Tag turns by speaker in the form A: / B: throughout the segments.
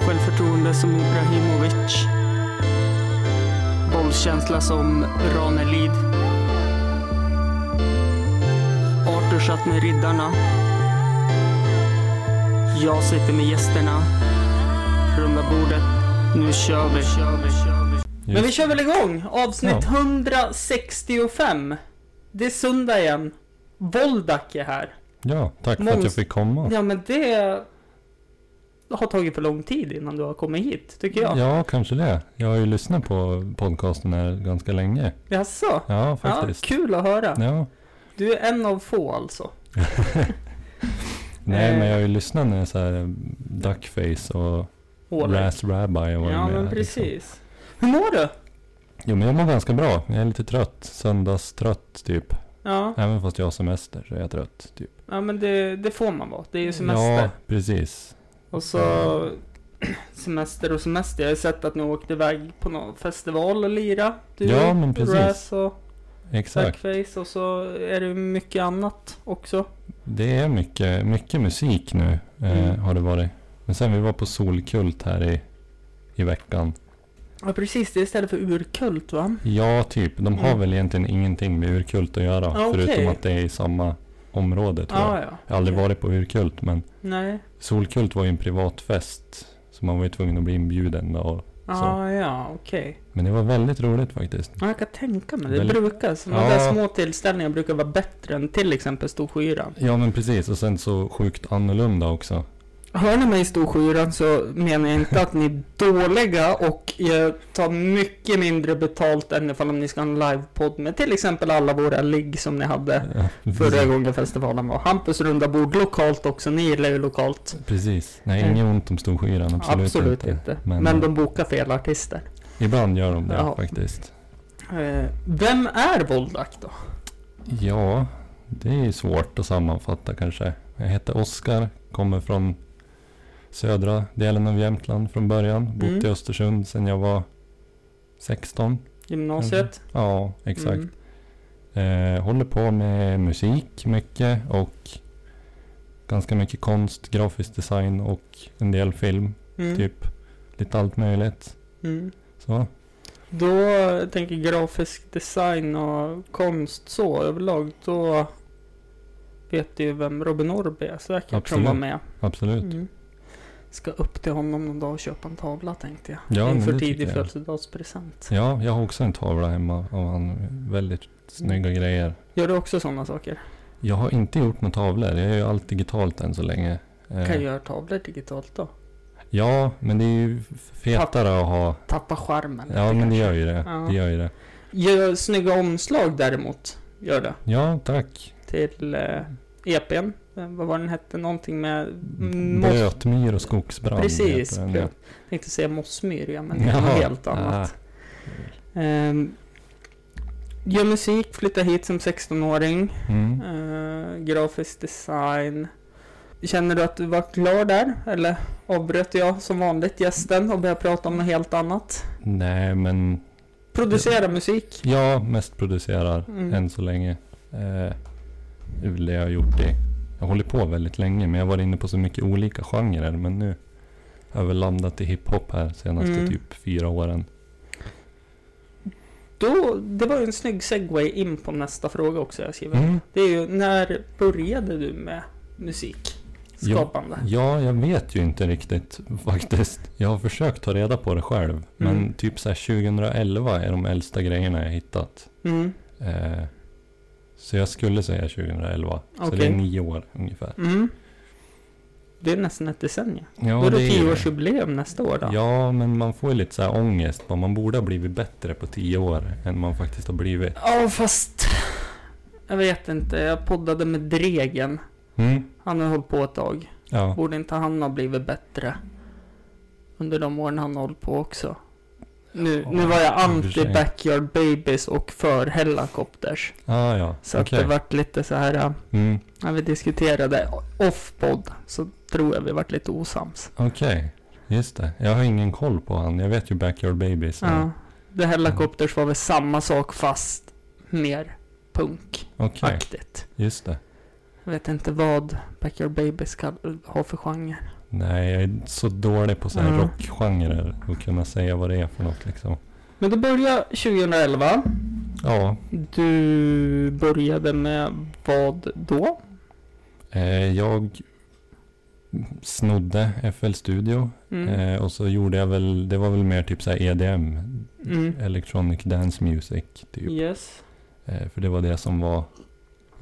A: Självförtroende som Ibrahimovic. Bollkänsla som Ranelid. Arthur satt med riddarna. Jag sitter med gästerna. Runda bordet. Nu kör vi. Men vi kör väl igång. Avsnitt 165. Det är söndag igen. Voldak är här.
B: Ja, tack för att jag
A: Mångs-
B: fick komma.
A: Ja men det har tagit för lång tid innan du har kommit hit, tycker jag.
B: Ja, kanske det. Jag har ju lyssnat på podcasten här ganska länge.
A: Jaså?
B: Ja,
A: Ja,
B: faktiskt.
A: kul att höra.
B: Ja.
A: Du är en av få alltså.
B: Nej,
A: Eh.
B: men jag har ju lyssnat när så här eh, Duckface och
A: Ålek.
B: Last Rabbi har varit
A: Ja
B: med.
A: men
B: liksom.
A: precis. Hur mår du?
B: Jo, men jag mår ganska bra. Jag är lite trött. Söndagstrött, typ.
A: Ja,
B: Även fast jag har semester så är jag trött, typ.
A: ja men det, det får man vara. Det är ju semester.
B: Mm. Ja, precis.
A: Och så semester och semester. Jag har ju sett att ni åkte iväg på någon festival och lira. Du,
B: Ja, men precis.
A: Razz och
B: Exakt.
A: Backface och så är det mycket annat också.
B: Det är mycket, mycket musik nu, eh,
A: Mm.
B: har det varit. Men sen vi var på Solkult här i, i veckan.
A: Ja precis, det är istället för urkult va?
B: Ja, typ. De har
A: Mm.
B: väl egentligen ingenting med urkult att göra.
A: Ah, okej. Ah.
B: Förutom att det är i samma område tror jag.
A: Ja, ja.
B: Jag har aldrig varit på urkult, men
A: Nej.
B: solkult var ju en privat fest. Så man var ju tvungen att bli inbjuden. då Och,
A: Ah, ja, okej.
B: men det var väldigt roligt faktiskt.
A: Ja, jag kan tänka mig det.
B: Väldigt-
A: brukar, sådana
B: Ja.
A: där små tillställningar brukar vara bättre än till exempel Storskyran.
B: Ja, men precis. Och sen så sjukt annorlunda också.
A: Hör ni mig i Storskyran så menar jag inte att ni är dåliga och jag tar mycket mindre betalt än ifall om ni ska ha en livepodd med till exempel alla våra ligg som ni hade förra gången festivalen var. Hampus runda bord lokalt också, ni gillar ju lokalt.
B: Precis. Nej,
A: Mm.
B: inget ont om Storskyran. Absolut, inte.
A: Men,
B: Men,
A: de bokar fel artister.
B: ibland gör de det
A: Ja.
B: faktiskt.
A: Eh, Vem är Voldak då?
B: Ja, det är ju svårt att sammanfatta kanske. Jag heter Oskar, kommer från södra delen av Jämtland från början. Bott
A: Mm.
B: i Östersund sedan jag var 16.
A: Gymnasiet?
B: Ja, exakt.
A: Mm.
B: Eh, håller på med musik mycket och ganska mycket konst, grafisk design och en del film.
A: Mm.
B: Typ lite allt möjligt.
A: Mm.
B: Så.
A: Då eh, tänker grafisk design och konst så överlag, då vet du ju vem Robin Orby är säkert som
B: Absolut.
A: var med.
B: Absolut.
A: Mm. Ska upp till honom någon dag och köpa en tavla tänkte jag.
B: Ja, men
A: Inför
B: det
A: tidig
B: tycker jag.
A: födelsedagspresent.
B: Ja, jag har också en tavla hemma av han. Väldigt snygga
A: Mm.
B: grejer.
A: Gör du också sådana saker?
B: Jag har inte gjort några tavlor. Jag gör allt digitalt än så länge. Eh,
A: Kan jag göra tavlor digitalt då?
B: Ja, men det är ju f- fetare att ha.
A: Tappa skärmen
B: Ja,
A: lite
B: men
A: kanske.
B: det gör ju det.
A: Ja.
B: Det gör ju det.
A: Gör snygga omslag däremot. Gör det.
B: Ja, tack.
A: Till eh, EPn. Eh, Vad var den hette? Någonting med... Mm, måste-
B: Blötmyr och skogsbrand
A: Precis.
B: heter den,
A: Jag tänkte säga mossmyrja, men det är
B: Jaha,
A: något helt annat. Ehm, gör musik, flyttade hit som 16-åring.
B: ja. Mm.
A: Eh, grafisk design. Känner du att du var klar där? Eller avbröt jag som vanligt gästen och började prata om något helt annat?
B: Nej, men Mm.
A: Producera musik.
B: jag mest producerar
A: Mm.
B: än så länge. Eh, det är väl det jag har gjort det. Jag håller på väldigt länge, men jag var inne på så mycket olika genrer. Men nu har jag väl landat i hiphop här senaste
A: Mm.
B: typ fyra åren.
A: Då, det var ju en snygg segway in på nästa fråga också jag skriver.
B: Mm.
A: Det är ju, när började du med musik?
B: Jo.
A: Skapande?
B: Ja, jag vet ju inte riktigt faktiskt. Jag har försökt ta reda på det själv. Men
A: Mm.
B: typ så här 2011 är de äldsta grejerna jag hittat.
A: Mm.
B: Eh, så jag skulle säga 2011. Så det
A: Okej.
B: är nio år ungefär.
A: Mm. Det är nästan ett decennium.
B: Ja,
A: Då är det
B: det är ju det.
A: tioårsjubileum nästa år då?
B: Ja, men man får ju lite så här ångest. Bara, Man borde ha blivit bättre på tio år än man faktiskt har blivit.
A: Ja, fast... Jag vet inte. Jag poddade med Dregen.
B: Mm.
A: Han har hållit på ett tag.
B: Ja,
A: Borde inte han ha blivit bättre? Under de åren han har hållit på också. Nu, nu var jag
B: Ja, i och för
A: anti
B: sig.
A: Backyard Babies och för Hellacopters.
B: ah, ja.
A: Så att
B: Okej.
A: det vart lite så här... äh,
B: Mm.
A: När vi diskuterade off-podd så tror jag vi vart lite osams.
B: Okej, just det. Jag har ingen koll på han. Jag vet ju Backyard Babies. men-
A: Ja. Det Hellacopters var väl samma sak fast mer punkaktigt.
B: Okej, just det.
A: Jag vet inte vad Backyard Babies ska ha eh, för genre.
B: Nej, jag är så dålig på så här
A: Mm.
B: rockgenrer och kunna säga vad det är för något liksom.
A: Men du började 2011.
B: Ja,
A: Du började med vad då?
B: eh, jag snodde FL Studio
A: Mm.
B: eh, och så gjorde jag väl, det var väl mer typ så här EDM,
A: Mm.
B: Electronic Dance Music typ.
A: Yes.
B: Eh, för det var det som var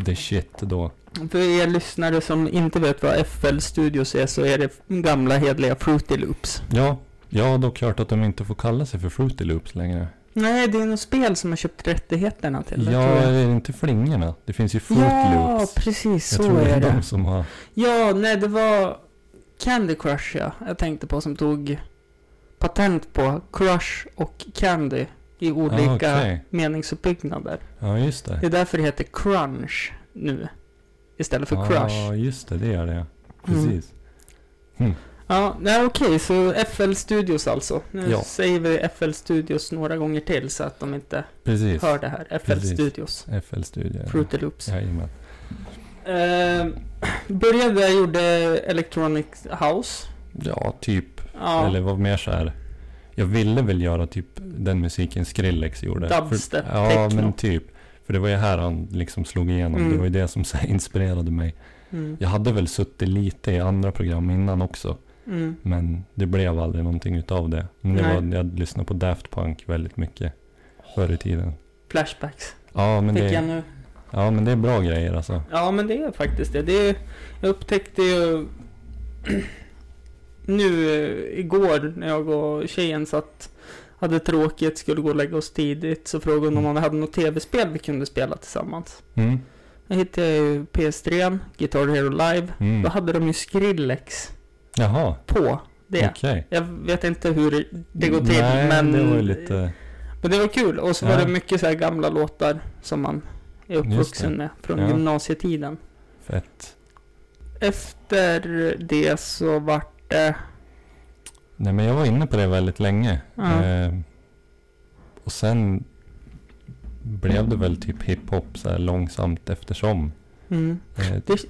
B: the shit då.
A: För er lyssnare som inte vet vad FL Studios är så är det gamla hedliga Fruity Loops.
B: Ja, jag har dock hört att de inte får kalla sig för Fruity Loops längre.
A: Nej, det är något spel som har köpt rättigheterna till det.
B: Ja,
A: tror jag.
B: är det inte flingorna? Det finns ju Fruit
A: ja
B: Loops.
A: precis
B: Jag
A: så
B: tror det
A: är
B: är de
A: det.
B: som har...
A: Ja, nej det var Candy Crush ja, jag tänkte på som tog patent på Crush och Candy i olika
B: Ah, okej.
A: meningsuppbyggnader.
B: Ja, just det.
A: Det är därför det heter Crunch nu. Istället
B: Ah.
A: för Crush. Mm.
B: Ja, just det. Det är det. Precis.
A: Ja, nej okej, så FL Studios alltså. Nu
B: Ja.
A: säger vi FL Studios några gånger till så att de inte
B: Precis.
A: hör det här. FL
B: Precis.
A: Studios.
B: FL Studio.
A: Fruity Loops.
B: Jajamän.
A: Eh, började jag gjorde Electronic House.
B: Ja, typ.
A: Ja,
B: Eller vad mer så här. Jag ville väl göra typ den musiken Skrillex gjorde.
A: Dubstep,
B: För, ja,
A: techno.
B: men typ. För det var ju här han liksom slog igenom.
A: Mm.
B: Det var ju det som så här inspirerade mig.
A: mm,
B: Jag hade väl suttit lite i andra program innan också.
A: mm,
B: Men det blev aldrig någonting utav det. Men det
A: Nej.
B: var, jag lyssnade på Daft Punk väldigt mycket förr i tiden.
A: flashbacks.
B: Ja men,
A: Fick jag
B: det,
A: nu.
B: ja, men det är bra grejer alltså.
A: Ja, men det är faktiskt det. det är, jag upptäckte ju nu eh, igår när jag och tjejen satt hade tråkigt, skulle gå och lägga oss tidigt, så frågade hon om vi hade något tv-spel vi kunde spela tillsammans.
B: Mm,
A: Jag hittade ju PS3, Guitar Hero Live. Då
B: mm.
A: hade de ju Skrillex
B: Jaha,
A: på det.
B: okej.
A: Jag vet inte hur det går till,
B: Mm. Nej,
A: men
B: det var ju lite...
A: Men det var kul och så
B: Ja.
A: var det mycket så här gamla låtar som man är
B: Just
A: uppvuxen med från
B: Ja.
A: gymnasietiden.
B: Fett.
A: Efter det så vart det...
B: Nej men jag var inne på det väldigt länge.
A: Ja.
B: Eh, och sen blev det väl typ hiphop så här långsamt eftersom.
A: Mm.
B: Eh,
A: det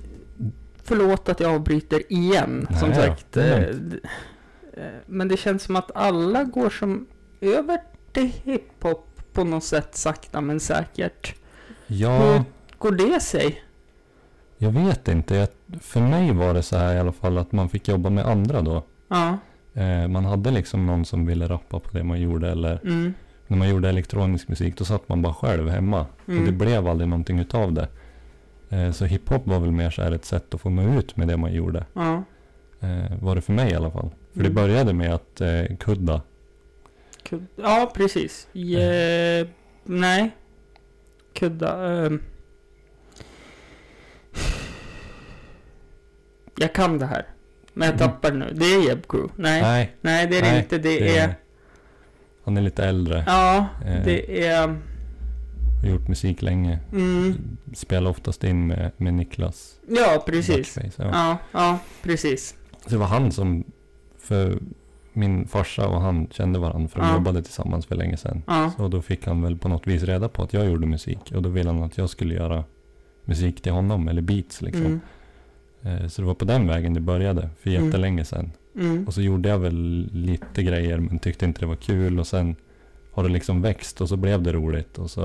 A: förlåt att jag avbryter igen,
B: Nej
A: som
B: då,
A: sagt.
B: det är
A: Eh, d- eh, Men det känns som att alla går som över till hiphop på något sätt sakta men säkert.
B: ja,
A: Går det sig?
B: jag vet inte. Jag, för mig var det så här i alla fall att man fick jobba med andra då.
A: Ja.
B: Eh, man hade liksom någon som ville rappa på det man gjorde eller
A: Mm.
B: när man gjorde elektronisk musik då satt man bara själv hemma. Och det
A: Mm.
B: blev aldrig någonting utav det. Eh, så hiphop var väl mer så här ett sätt att få nå ut med det man gjorde.
A: Ja.
B: Eh, var det för mig i alla fall. För
A: Mm.
B: det började med att eh, Kudda,
A: Kudda. Ja, precis. Je...
B: Eh.
A: Nej. Kudda. ehm. Jag kan det här. Men jag
B: Mm.
A: tappar det nu. Det är Jeb Crew. Nej, nej,
B: nej,
A: det är det
B: nej,
A: inte. Det,
B: det
A: är...
B: är, han är lite äldre.
A: Ja,
B: Eh.
A: det är...
B: Har gjort musik länge.
A: Mm.
B: Spelar oftast in med, med Niklas.
A: Ja, precis.
B: Backface, ja.
A: Ja, ja, precis.
B: Så det var han som, för min farsa och han kände varandra för de
A: Ja.
B: jobbade tillsammans för länge sedan.
A: Ja,
B: Så då fick han väl på något vis reda på att jag gjorde musik och då ville han att jag skulle göra musik till honom eller beats liksom.
A: mm.
B: Eh, Så det var på den vägen det började för
A: Mm.
B: jättelänge sedan.
A: Mm.
B: Och så gjorde jag väl lite grejer men tyckte inte det var kul och sen har det liksom växt och så blev det roligt och så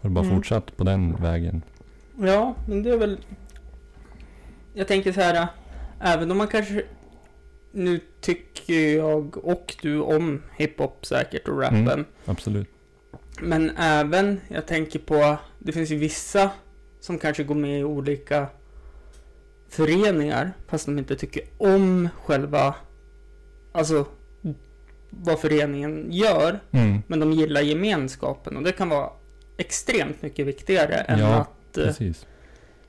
B: har det bara
A: Mm.
B: fortsatt på den vägen.
A: Ja, men det är väl... Jag tänker så här, äh, även om man kanske... Nu tycker jag och du om hiphop säkert och rappen.
B: Mm. Absolut.
A: Men även, jag tänker på, det finns ju vissa som kanske går med i olika föreningar fast de inte tycker om själva, alltså vad föreningen gör.
B: Mm.
A: Men de gillar gemenskapen och det kan vara extremt mycket viktigare än
B: Ja,
A: att eh,
B: Precis.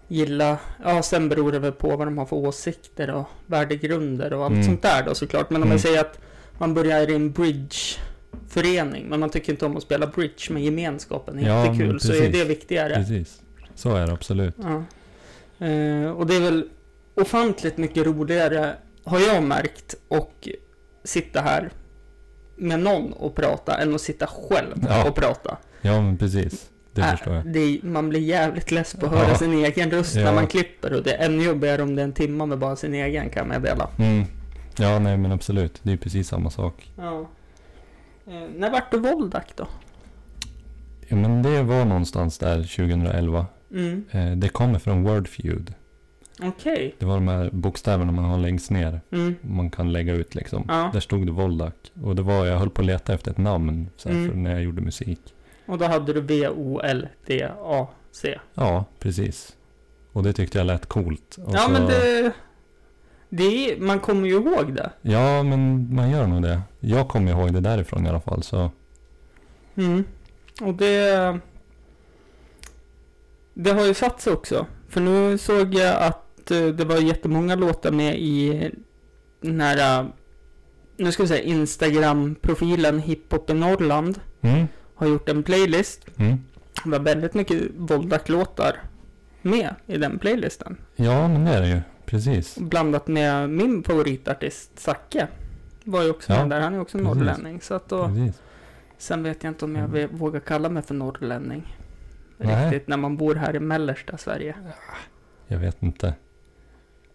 A: gilla, ja sen beror det väl på vad de har för åsikter och värdegrunder och allt
B: Mm.
A: sånt där då såklart. Men om
B: Mm.
A: jag säger att man börjar i en bridgeförening, men man tycker inte om att spela bridge, men gemenskapen är
B: Ja,
A: inte
B: men
A: kul, så är det
B: precis.
A: viktigare.
B: Precis. Så är det absolut.
A: Ja. Eh, och det är väl ofantligt mycket roligare, har jag märkt, och sitta här med någon och prata än att sitta själv
B: Ja.
A: och prata.
B: Ja men precis. det
A: Äh,
B: förstår jag.
A: det är- man blir jävligt less på att höra
B: Ja.
A: sin egen röst
B: Ja.
A: när man klipper och det är ännu jobbigare om det är en timme med bara sin egen kan jag meddela.
B: Mm. Ja, nej men absolut. Det är ju precis samma sak.
A: Ja. Eh, när vart du Voldak då?
B: Ja, men det var någonstans där 2011.
A: Mm.
B: Eh, det kommer från Wordfeud.
A: Okej.
B: Det var de här bokstäverna man har längst ner.
A: Mm.
B: Man kan lägga ut liksom.
A: Ja.
B: Där stod det Voldak. Och det var, jag höll på att leta efter ett namn så här,
A: Mm.
B: för när jag gjorde musik.
A: Och då hade du V-O-L-D-A-C.
B: Ja, precis. Och det tyckte jag lät coolt. Och
A: Ja
B: så-
A: men det... det är, man kommer ju ihåg det.
B: Ja, men man gör nog det. Jag kommer ihåg det därifrån i alla fall. Så
A: Mm. Och det... Det har ju satt sig också. För nu såg jag att eh, det var jättemånga låtar med i den här... eh, Nu ska vi säga Instagram-profilen Hiphop i Norrland.
B: mm,
A: Har gjort en playlist.
B: mm.
A: Det var väldigt mycket Voldak-låtar med i den playlisten.
B: Ja, men det är det ju. Precis.
A: Och Blandat med min favoritartist Zacke. Var ju också
B: Ja,
A: med där. Han är också
B: precis. Mm.
A: norrlänning. Så att då...
B: precis.
A: Sen vet jag inte om jag vill- vågar kalla mig för norrlänning.
B: Mm. Nej.
A: Riktigt, när man bor här i mellersta Sverige.
B: Jag vet inte.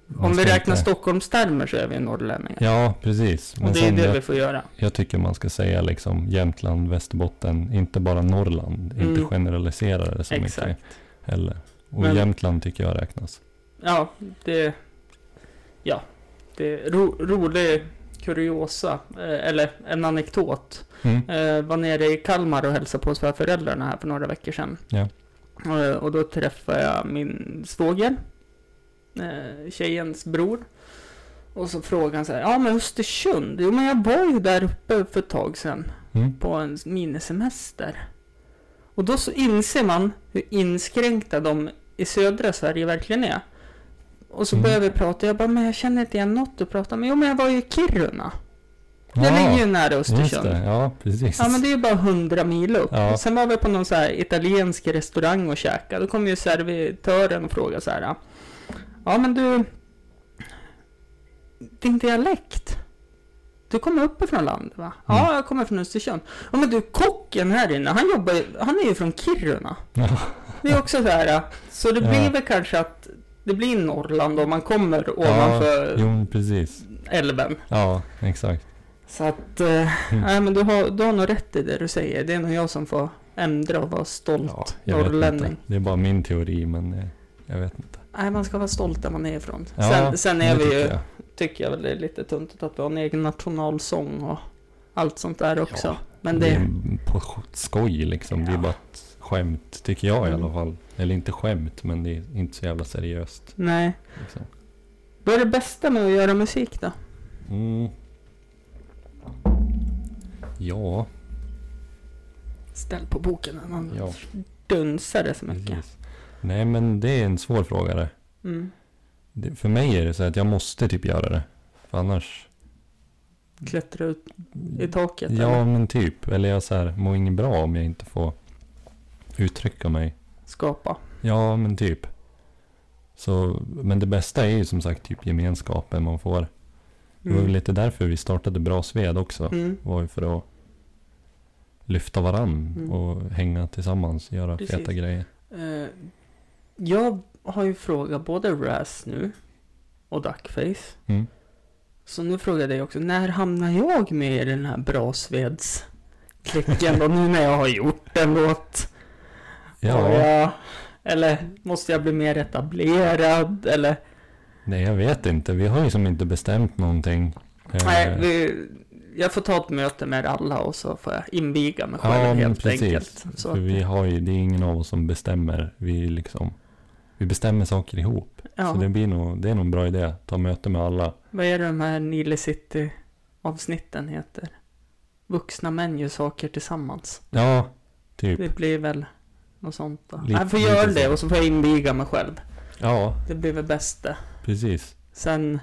B: Man
A: Om vi
B: ska
A: räknar
B: inte-
A: Stockholmstermer så är vi norrlänningar.
B: Ja, precis.
A: och
B: Men
A: det är
B: sen,
A: det
B: jag,
A: vi får göra.
B: jag tycker man ska säga liksom Jämtland, Västerbotten, inte bara Norrland. Inte
A: Mm.
B: generalisera det så mycket
A: Exakt.
B: heller. Och
A: Men-
B: Jämtland tycker jag räknas.
A: Ja, det... Ja. Det är ro, rolig kuriosa, eh, eller en anekdot.
B: Mm.
A: Eh, var nere i Kalmar och hälsade på svärföräldrarna här för några veckor sedan.
B: Ja.
A: Eh, och då träffade jag min svåger, eh, tjejens bror. Och så frågade han så här, ja men Östersund, jo men jag var ju där uppe för ett tag sedan
B: Mm.
A: på en minisemester. Och då så inser man hur inskränkta de i södra Sverige verkligen är. Och så
B: Mm.
A: börjar vi prata, jag bara, men jag känner inte igen något du pratar om. Jo, men jag var ju i Kiruna. Det
B: Ja,
A: ligger ju nära
B: just
A: Östersund.
B: det. Ja, precis.
A: Ja men det är ju bara hundra mil upp.
B: Ja.
A: Och Sen var vi på någon så här italiensk restaurang och käkade. Då kom ju servitören och frågade så här. Ja men du, din dialekt. Du kommer uppifrån landet va?
B: Mm.
A: Ja, jag kommer från Östersund. Ja men du, kocken här inne, han jobbar ju- han är ju från Kiruna.
B: Ja.
A: Det är också så här, så det
B: Ja.
A: blir väl kanske att det blir Norrland om man kommer
B: Ja,
A: ovanför
B: Jo, precis.
A: älven.
B: Ja, exakt. Mm.
A: Så att, eh, nej men du har, du har nog rätt i det du säger. Det är nog jag som får ändra och vara stolt
B: Ja, jag vet
A: norrlänning.
B: inte. Det är bara min teori, men eh, jag vet inte.
A: Nej, man ska vara stolt där man är ifrån.
B: Ja,
A: sen, sen är vi
B: det tycker
A: ju,
B: jag.
A: tycker jag väl det är lite tuntet att vi har en egen nationalsång och allt sånt där också.
B: Ja,
A: men
B: Det
A: det,
B: är på sk- skoj liksom. Det är
A: Ja.
B: bara ett skämt tycker jag i
A: Mm.
B: alla fall. Eller inte skämt, men det är inte så jävla seriöst.
A: nej.
B: Liksom.
A: Vad är det bästa med att göra musik då?
B: Mm. Ja,
A: Ställ på boken, man
B: ja,
A: dunsade så mycket.
B: precis. Nej, men det är en svår fråga det.
A: Mm.
B: det. För mig är det så att jag måste typ göra det. För annars,
A: Klättra ut i taket.
B: Mm. ja
A: eller
B: men typ. Eller jag så här, mår ingen bra om jag inte får uttrycka mig.
A: Skapa.
B: Ja, men typ. Så, men det bästa är ju som sagt typ gemenskapen man får. Det var
A: Mm.
B: väl lite därför vi startade Bra Sved också.
A: Mm.
B: var ju för att lyfta varann
A: Mm.
B: och hänga tillsammans och göra
A: Precis.
B: feta grejer.
A: Eh, jag har ju frågat både Raz nu och Duckface.
B: Mm.
A: Så nu frågar jag dig också, när hamnar jag med i den här Brasveds klicken då nu när jag har gjort en låt? Har
B: Ja,
A: jag- eller måste jag bli mer etablerad? Eller?
B: nej jag vet inte. Vi har ju som inte bestämt någonting. Eh,
A: Nej, vi, jag får ta ett möte med er alla och så får jag inviga mig själv
B: ja, men
A: helt
B: precis.
A: enkelt. Så
B: för
A: att-
B: vi har ju, det är ingen av oss som bestämmer. Vi liksom, vi bestämmer saker ihop.
A: ja,
B: Så det blir nog, det är nog en bra idé. Ta möte med alla.
A: Vad är det de här Nile City avsnitten heter? Vuxna män gör saker tillsammans.
B: Ja, typ.
A: Det blir väl något sånt då.
B: Lite-
A: jag får göra
B: lite
A: det
B: så.
A: och så får jag inviga mig själv.
B: Ja,
A: Det blir väl bäst det.
B: precis.
A: Sen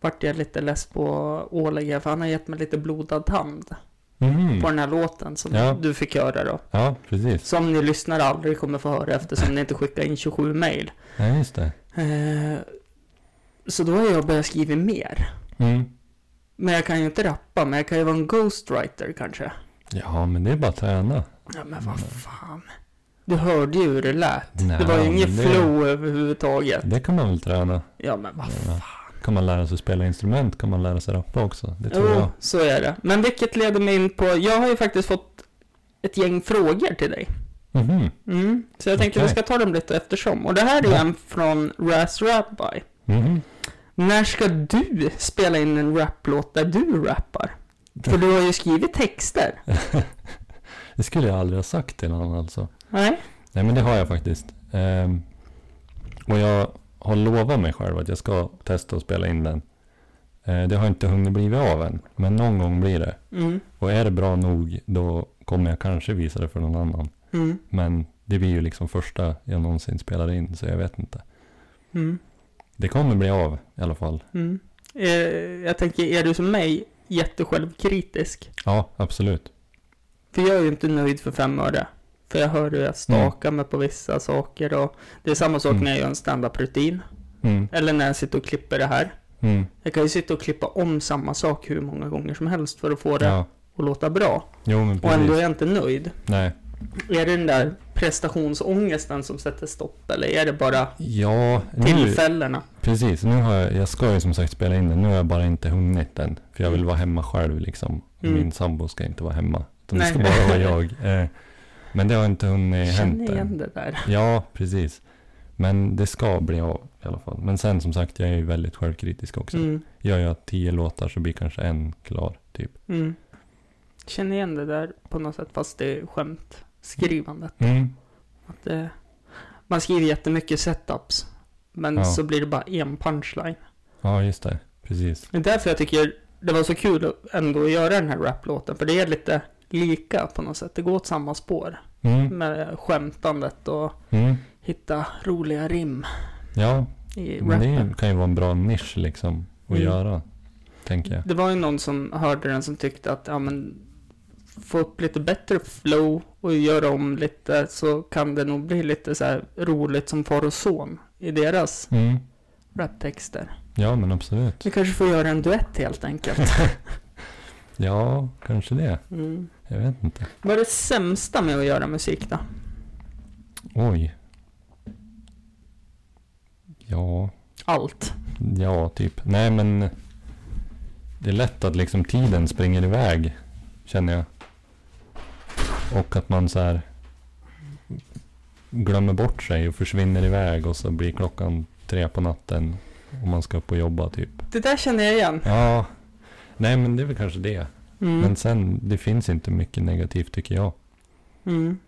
A: vart jag lite less på Ålägga för han har gett mig lite blodad hand
B: Mhm.
A: på den här låten som
B: Ja.
A: du fick höra då.
B: Ja, precis.
A: Som ni lyssnare aldrig kommer få höra eftersom ni inte skickar in 27 mejl.
B: Ja, just det.
A: Eh, så då har jag börjat skriva mer.
B: Mm.
A: Men jag kan ju inte rappa, men jag kan ju vara en ghostwriter kanske.
B: Ja, men det är bara att träna.
A: Ja men vad fan. Du hörde ju hur det lät.
B: Nej,
A: Det var ju inget
B: men det-
A: flow överhuvudtaget.
B: Det kan man väl träna.
A: Ja men vad
B: Ja. Kan man lära sig spela instrument kan man lära sig rappa också. Det tror
A: Jo,
B: jag.
A: så är det. Men vilket leder mig in på, jag har ju faktiskt fått ett gäng frågor till dig.
B: Mhm.
A: Mm. Så jag tänkte
B: Okej.
A: vi ska ta dem lite eftersom. Och det här är
B: Ja.
A: en från Raz Rabbi.
B: Mhm.
A: När ska du spela in en raplåt där du rappar?
B: Det-
A: För du har ju skrivit texter.
B: Det skulle jag aldrig ha sagt till honom alltså.
A: Nej?
B: Nej men det har jag faktiskt. Ehm, och jag har lovat mig själv att jag ska testa att spela in den. Eh, det har inte hunnit blivit av än. Men någon gång blir det.
A: Mm.
B: Och är det bra nog då kommer jag kanske visa det för någon annan.
A: Mm.
B: Men det blir ju liksom första jag någonsin spelar in så jag vet inte.
A: Mm.
B: Det kommer bli av i alla fall.
A: Mm. Eh, jag tänker, är du som mig jättesjälvkritisk?
B: Ja, absolut.
A: För jag är ju inte nöjd för fem öre. För jag hör hur jag stakar mig på vissa saker och det är samma sak
B: Mm.
A: när jag gör en standup-rutin.
B: Mm.
A: Eller när jag sitter och klipper det här.
B: Mm.
A: Jag kan ju sitta och klippa om samma sak hur många gånger som helst för att få det
B: Ja.
A: att låta bra.
B: Jo men
A: Och ändå är
B: precis.
A: jag inte nöjd.
B: Nej.
A: Är det den där prestationsångesten som sätter stopp eller är det bara
B: Ja, nu,
A: tillfällena?
B: precis. Nu har jag, jag ska ju som sagt spela in den. Nu har jag bara inte hunnit än. För jag vill vara hemma själv liksom.
A: Mm.
B: Min sambo ska inte vara hemma. Utan det
A: Nej.
B: ska bara vara jag. Eh, men det har inte hunnit hänt
A: Känner
B: än.
A: igen det där.
B: Ja, precis. Men det ska bli av i alla fall. Men sen som sagt, jag är ju väldigt självkritisk också.
A: Mm,
B: Gör jag tio låtar så blir kanske en klar, typ.
A: mm. Känner igen det där på något sätt fast det är skämt skrivandet.
B: Mm.
A: Att det, man skriver jättemycket setups. Men
B: Ja.
A: så blir det bara en punchline.
B: Ja, just det. Precis.
A: Det är därför jag tycker det var så kul att ändå göra den här raplåten. För det är lite lika på något sätt. Det går åt samma spår.
B: Mm.
A: Med skämtandet och
B: Mm.
A: hitta roliga rim
B: Ja,
A: i
B: men det
A: rappen.
B: är- kan ju vara en bra nisch liksom att
A: Mm.
B: göra, tänker jag.
A: Det var ju någon som hörde den som tyckte att, ja men, få upp lite bättre flow och göra om lite så kan det nog bli lite så här roligt som far och son i deras
B: Mm.
A: raptexter.
B: Ja, men absolut.
A: Vi kanske får göra en duett helt enkelt.
B: Ja, kanske det.
A: Mm.
B: Jag vet inte.
A: Vad är det sämsta med att göra musik då?
B: Oj. Ja,
A: Allt.
B: ja, typ. Nej, men det är lätt att liksom tiden springer iväg, känner jag. Och att man så här glömmer bort sig och försvinner iväg och så blir klockan tre på natten och man ska upp och jobba typ.
A: Det där känner jag igen.
B: Ja, nej men det är väl kanske det.
A: Mm.
B: Men sen, det finns inte mycket negativt tycker jag.
A: Mm.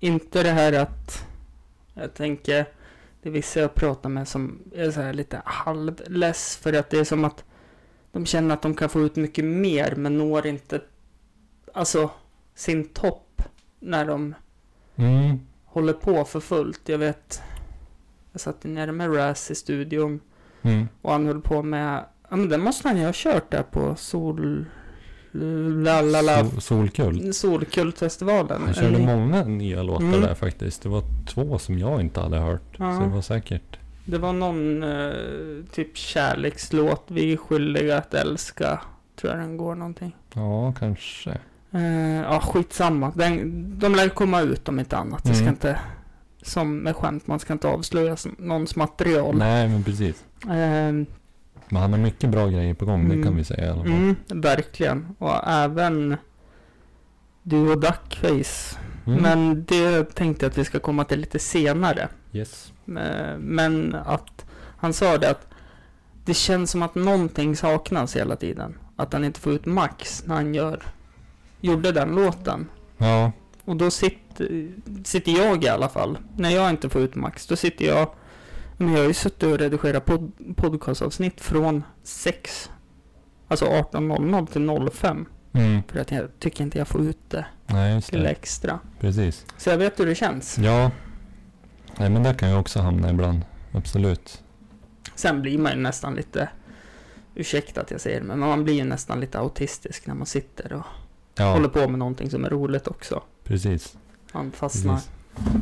A: Inte det här att, jag tänker, det är vissa jag pratar med som är så här lite halvless för att det är som att de känner att de kan få ut mycket mer men når inte, alltså sin topp när de
B: Mm,
A: håller på för fullt. Jag vet, jag satt nere med Raz i studion
B: mm,
A: och han höll på med, ja men det måste han ju ha kört där på Sol... La, la, la,
B: Sol, solkul.
A: Solkultfestivalen.
B: Han körde
A: Eller-
B: många nya låtar
A: Mm.
B: där faktiskt. Det var två som jag inte hade hört.
A: Ja.
B: Så det var säkert.
A: Det var någon eh, typ kärlekslåt, Vi är skyldiga att älska, tror jag den går någonting.
B: Ja, kanske.
A: Eh, ja, skitsamma. Den, de lär komma ut om inte annat. Det ska
B: Mm.
A: inte, som med skämt, man ska inte avslöja s- någons material.
B: Nej, men precis.
A: Eh,
B: Men han har mycket bra grejer på gång, det
A: Mm.
B: kan vi säga i alla fall.
A: mm, verkligen. Och även du och Duckface.
B: Mm.
A: Men det tänkte jag att vi ska komma till lite senare.
B: Yes.
A: Eh, Men att han sa det att det känns som att någonting saknas hela tiden. Att han inte får ut max när han gör, gjorde den låten.
B: Ja,
A: Och då sitter, sitter jag i alla fall, när jag inte får ut max, då sitter jag men jag har ju suttit och redigerat pod, podcastavsnitt från 6, alltså 18.00 till 05.
B: mm.
A: För att jag tycker inte jag får ut det
B: nej just
A: lilla
B: det.
A: extra.
B: Precis.
A: Så jag vet hur det känns.
B: Ja. Nej, men där kan jag också hamna ibland. Absolut.
A: Sen blir man ju nästan lite, ursäkta att jag säger det, men man blir ju nästan lite autistisk när man sitter och
B: Ja,
A: håller på med någonting som är roligt också.
B: precis.
A: Man fastnar.
B: precis.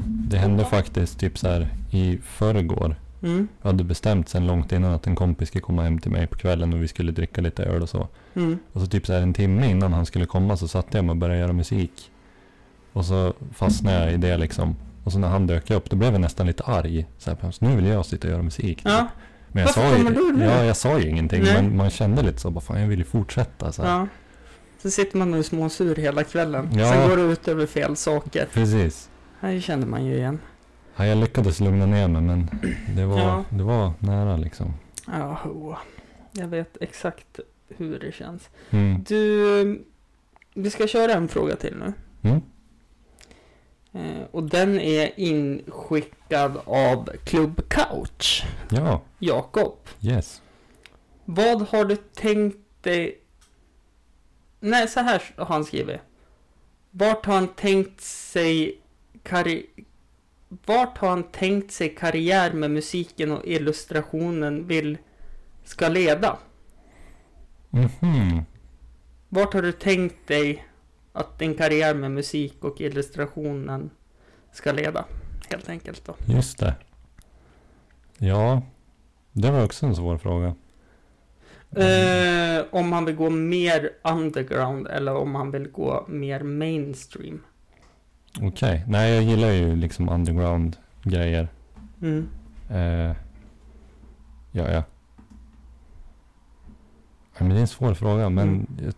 B: Det hände faktiskt typ så här i förrgår.
A: Mm,
B: Jag hade bestämt sen långt innan att en kompis skulle komma hem till mig på kvällen och vi skulle dricka lite öl och så.
A: mm,
B: Och så typ så här en timme innan han skulle komma så satte jag mig och började göra musik. Och så fastnade jag i det liksom. Och så när han dök upp, då blev jag nästan lite arg. Så här, "Pams, nu vill jag sitta och göra musik. typ.
A: Ja,
B: men jag
A: varför
B: sa ju,
A: kommer du nu?
B: Ja, jag sa ju ingenting.
A: Nej.
B: Men man kände lite så, bara fan jag vill ju fortsätta. Så här.
A: ja. Så sitter man och är småsur hela kvällen.
B: Ja.
A: Sen går det ut över fel saker.
B: Precis.
A: Det känner man ju igen.
B: Ja, jag lyckades lugna ner mig, men det var,
A: Ja.
B: det var nära liksom.
A: Ja, ho. jag vet exakt hur det känns.
B: Mm.
A: Du, vi ska köra en fråga till nu.
B: Mm.
A: Eh, Och den är inskickad av Club Couch,
B: Ja,
A: Jakob.
B: yes.
A: Vad har du tänkt dig? Nej, så här har han skrivit. Vart har han tänkt sig karri... Vart har han tänkt sig karriär med musiken och illustrationen vill ska leda?
B: Mhm.
A: Vart har du tänkt dig att en karriär med musik och illustrationen ska leda? Helt enkelt då.
B: Just det. Ja, det var också en svår fråga.
A: Eh, om han vill gå mer underground eller om han vill gå mer mainstream.
B: Okej, nej jag gillar ju liksom underground-grejer.
A: Mm.
B: Eh, ja, ja. Ja, Men det är en svår fråga, men
A: Mm.
B: jag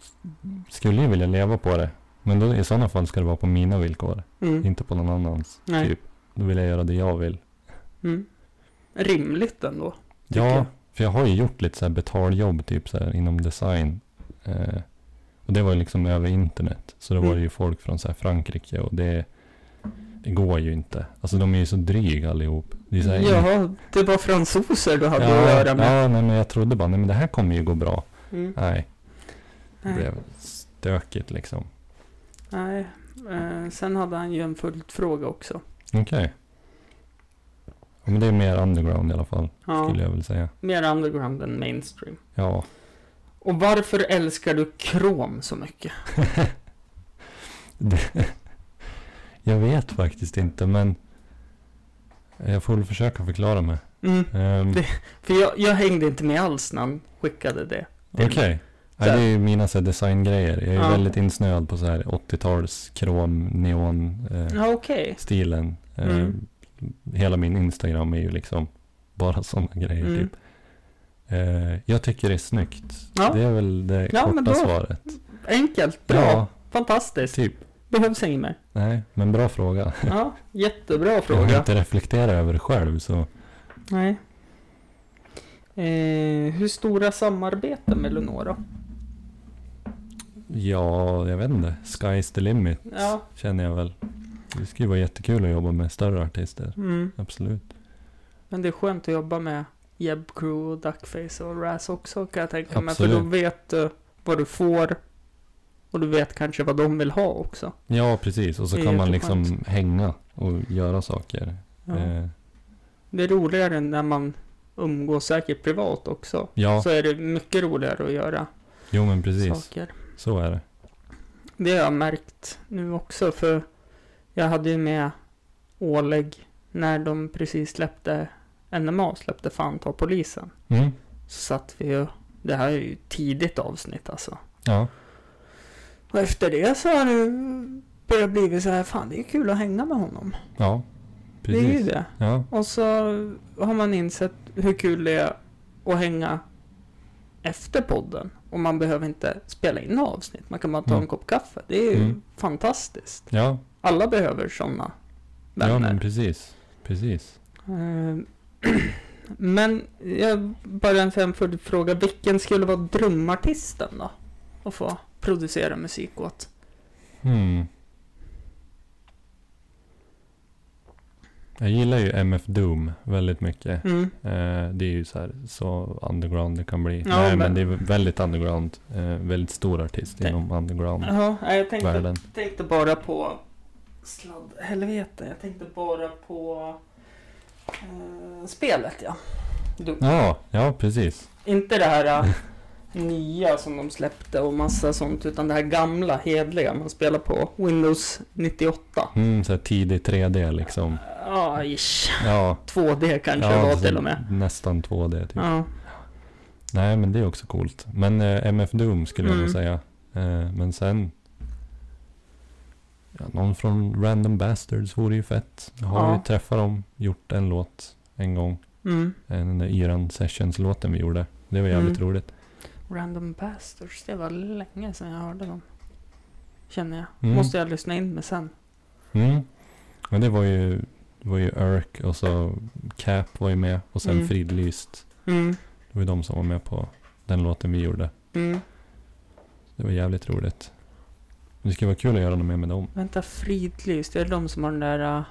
B: skulle ju vilja leva på det. Men då, i sådana fall ska det vara på mina villkor,
A: Mm.
B: inte på någon annans.
A: Nej.
B: Typ. Då vill jag göra det jag vill.
A: Mm. Rimligt ändå. Tycker
B: ja,
A: jag.
B: för jag har ju gjort lite så här betaljobb typ så här inom design. Eh, och det var ju liksom över internet. Så då var det
A: Mm.
B: ju folk från så här Frankrike och det, det går ju inte. Alltså de är ju så dryga allihop. Det är så här,
A: Ja, det var fransoser du hade att
B: ja,
A: göra med.
B: ja, nej men jag trodde bara, nej men det här kommer ju gå bra.
A: Mm.
B: Nej, det
A: Nej.
B: blev stökigt liksom.
A: Nej. Eh, sen hade han ju en följdfråga också.
B: Okej. Ja, Men det är mer underground i alla fall,
A: Ja,
B: skulle jag vilja säga.
A: mer underground än mainstream.
B: Ja,
A: Och varför älskar du krom så mycket?
B: jag vet faktiskt inte men jag får väl försöka förklara mig.
A: Mm.
B: Ehm,
A: Det- För jag, jag hängde inte med alls när han skickade det.
B: Okej. Ja,
A: Så-
B: det är ju mina så här, designgrejer. Jag är ju
A: Ja.
B: väldigt insnöad på så här 80-tals krom, neon eh,
A: Ja, okej.
B: stilen. Eh,
A: Mm.
B: Hela min Instagram är ju liksom bara sådana grejer
A: Mm.
B: typ. Eh, jag tycker det är snyggt.
A: Ja.
B: Det är väl det
A: Ja, men
B: korta
A: bra.
B: svaret.
A: Enkelt, bra,
B: Ja,
A: fantastiskt.
B: typ.
A: Behövs inget mer.
B: Nej, men bra fråga.
A: Ja, jättebra
B: Jag har
A: fråga.
B: inte reflekterat över det själv så.
A: Nej. Eh, hur stora samarbeten vill du nå då?
B: Ja, jag vet inte. Sky's the limit
A: Ja.
B: känner jag väl. Det skulle ju vara jättekul att jobba med större artister.
A: Mm.
B: Absolut.
A: Men det är skönt att jobba med Jeb Crew och Duckface och Raz också kan jag tänka mig. För
B: Absolut.
A: då vet du vad du får och du vet kanske vad de vill ha också.
B: Ja, precis. Och så
A: Det är
B: kan man liksom
A: jätteskönt.
B: hänga och göra saker.
A: Ja.
B: Eh,
A: Det är roligare när man umgås säkert privat också.
B: ja,
A: Så är det mycket roligare att göra
B: jo men precis.
A: saker.
B: Så är det.
A: Det har jag märkt nu också för jag hade ju med Oleg när de precis släppte NMA, släppte Fan ta polisen.
B: Mm.
A: Så satt vi ju, det här är ju tidigt avsnitt alltså.
B: Ja,
A: Och efter det så har det börjat bli så här, fan det är kul att hänga med honom.
B: ja, precis.
A: Det är ju det.
B: Ja,
A: Och så har man insett hur kul det är att hänga efter podden. Och man behöver inte spela in avsnitt, man kan bara ta
B: Mm.
A: en kopp kaffe. Det är ju
B: Mm.
A: fantastiskt.
B: ja,
A: Alla behöver sådana
B: ja men
A: vänner.
B: precis. Precis.
A: Eh, men jag bara sen för att fråga, vilken skulle vara drömartisten då? Att få producera musik åt?
B: Hmm. Jag gillar ju MF Doom väldigt mycket.
A: Mm.
B: Eh, det är ju så här så underground det kan bli.
A: Ja,
B: Nej, men...
A: men-
B: det är väldigt underground. Eh, väldigt stor artist
A: Det-
B: inom underground-världen.
A: Ja, nej, jag tänkte tänkte bara på sladd, helvete, jag tänkte bara på eh, spelet ja. Du,
B: Ja, ja, precis.
A: Inte det här eh, nya som de släppte och massa sånt, utan det här gamla hedliga man spelar på Windows 98.
B: Mm, så här tidig 3D liksom.
A: Ja, ish.
B: Ja,
A: 2D kanske
B: ja,
A: det var
B: så
A: till och med.
B: Nästan 2D typ.
A: Ja.
B: Nej, men det är också coolt. Men eh, MF Doom skulle jag nog
A: Mm.
B: säga. Eh, men sen... Ja, någon från Random Bastards vore ju fett. Jag har
A: Ja.
B: ju träffat dem, gjort en låt en gång.
A: Mm.
B: Eh, Den där Iran Sessions-låten vi gjorde. Det var jävligt
A: Mm.
B: roligt.
A: Random Bastards, det var länge sedan jag hörde dem. Känner jag.
B: Mm.
A: Måste jag lyssna in med sen.
B: Mm. Men det var ju, det var ju Örk och så Cap var ju med och sen
A: Mm.
B: Fridlyst.
A: Mm.
B: Det var ju de som var med på den låten vi gjorde.
A: Mm.
B: Det var jävligt roligt. Det skulle vara kul att göra något mer med dem.
A: Vänta, Fridlyst, det är de som har den där... Uh...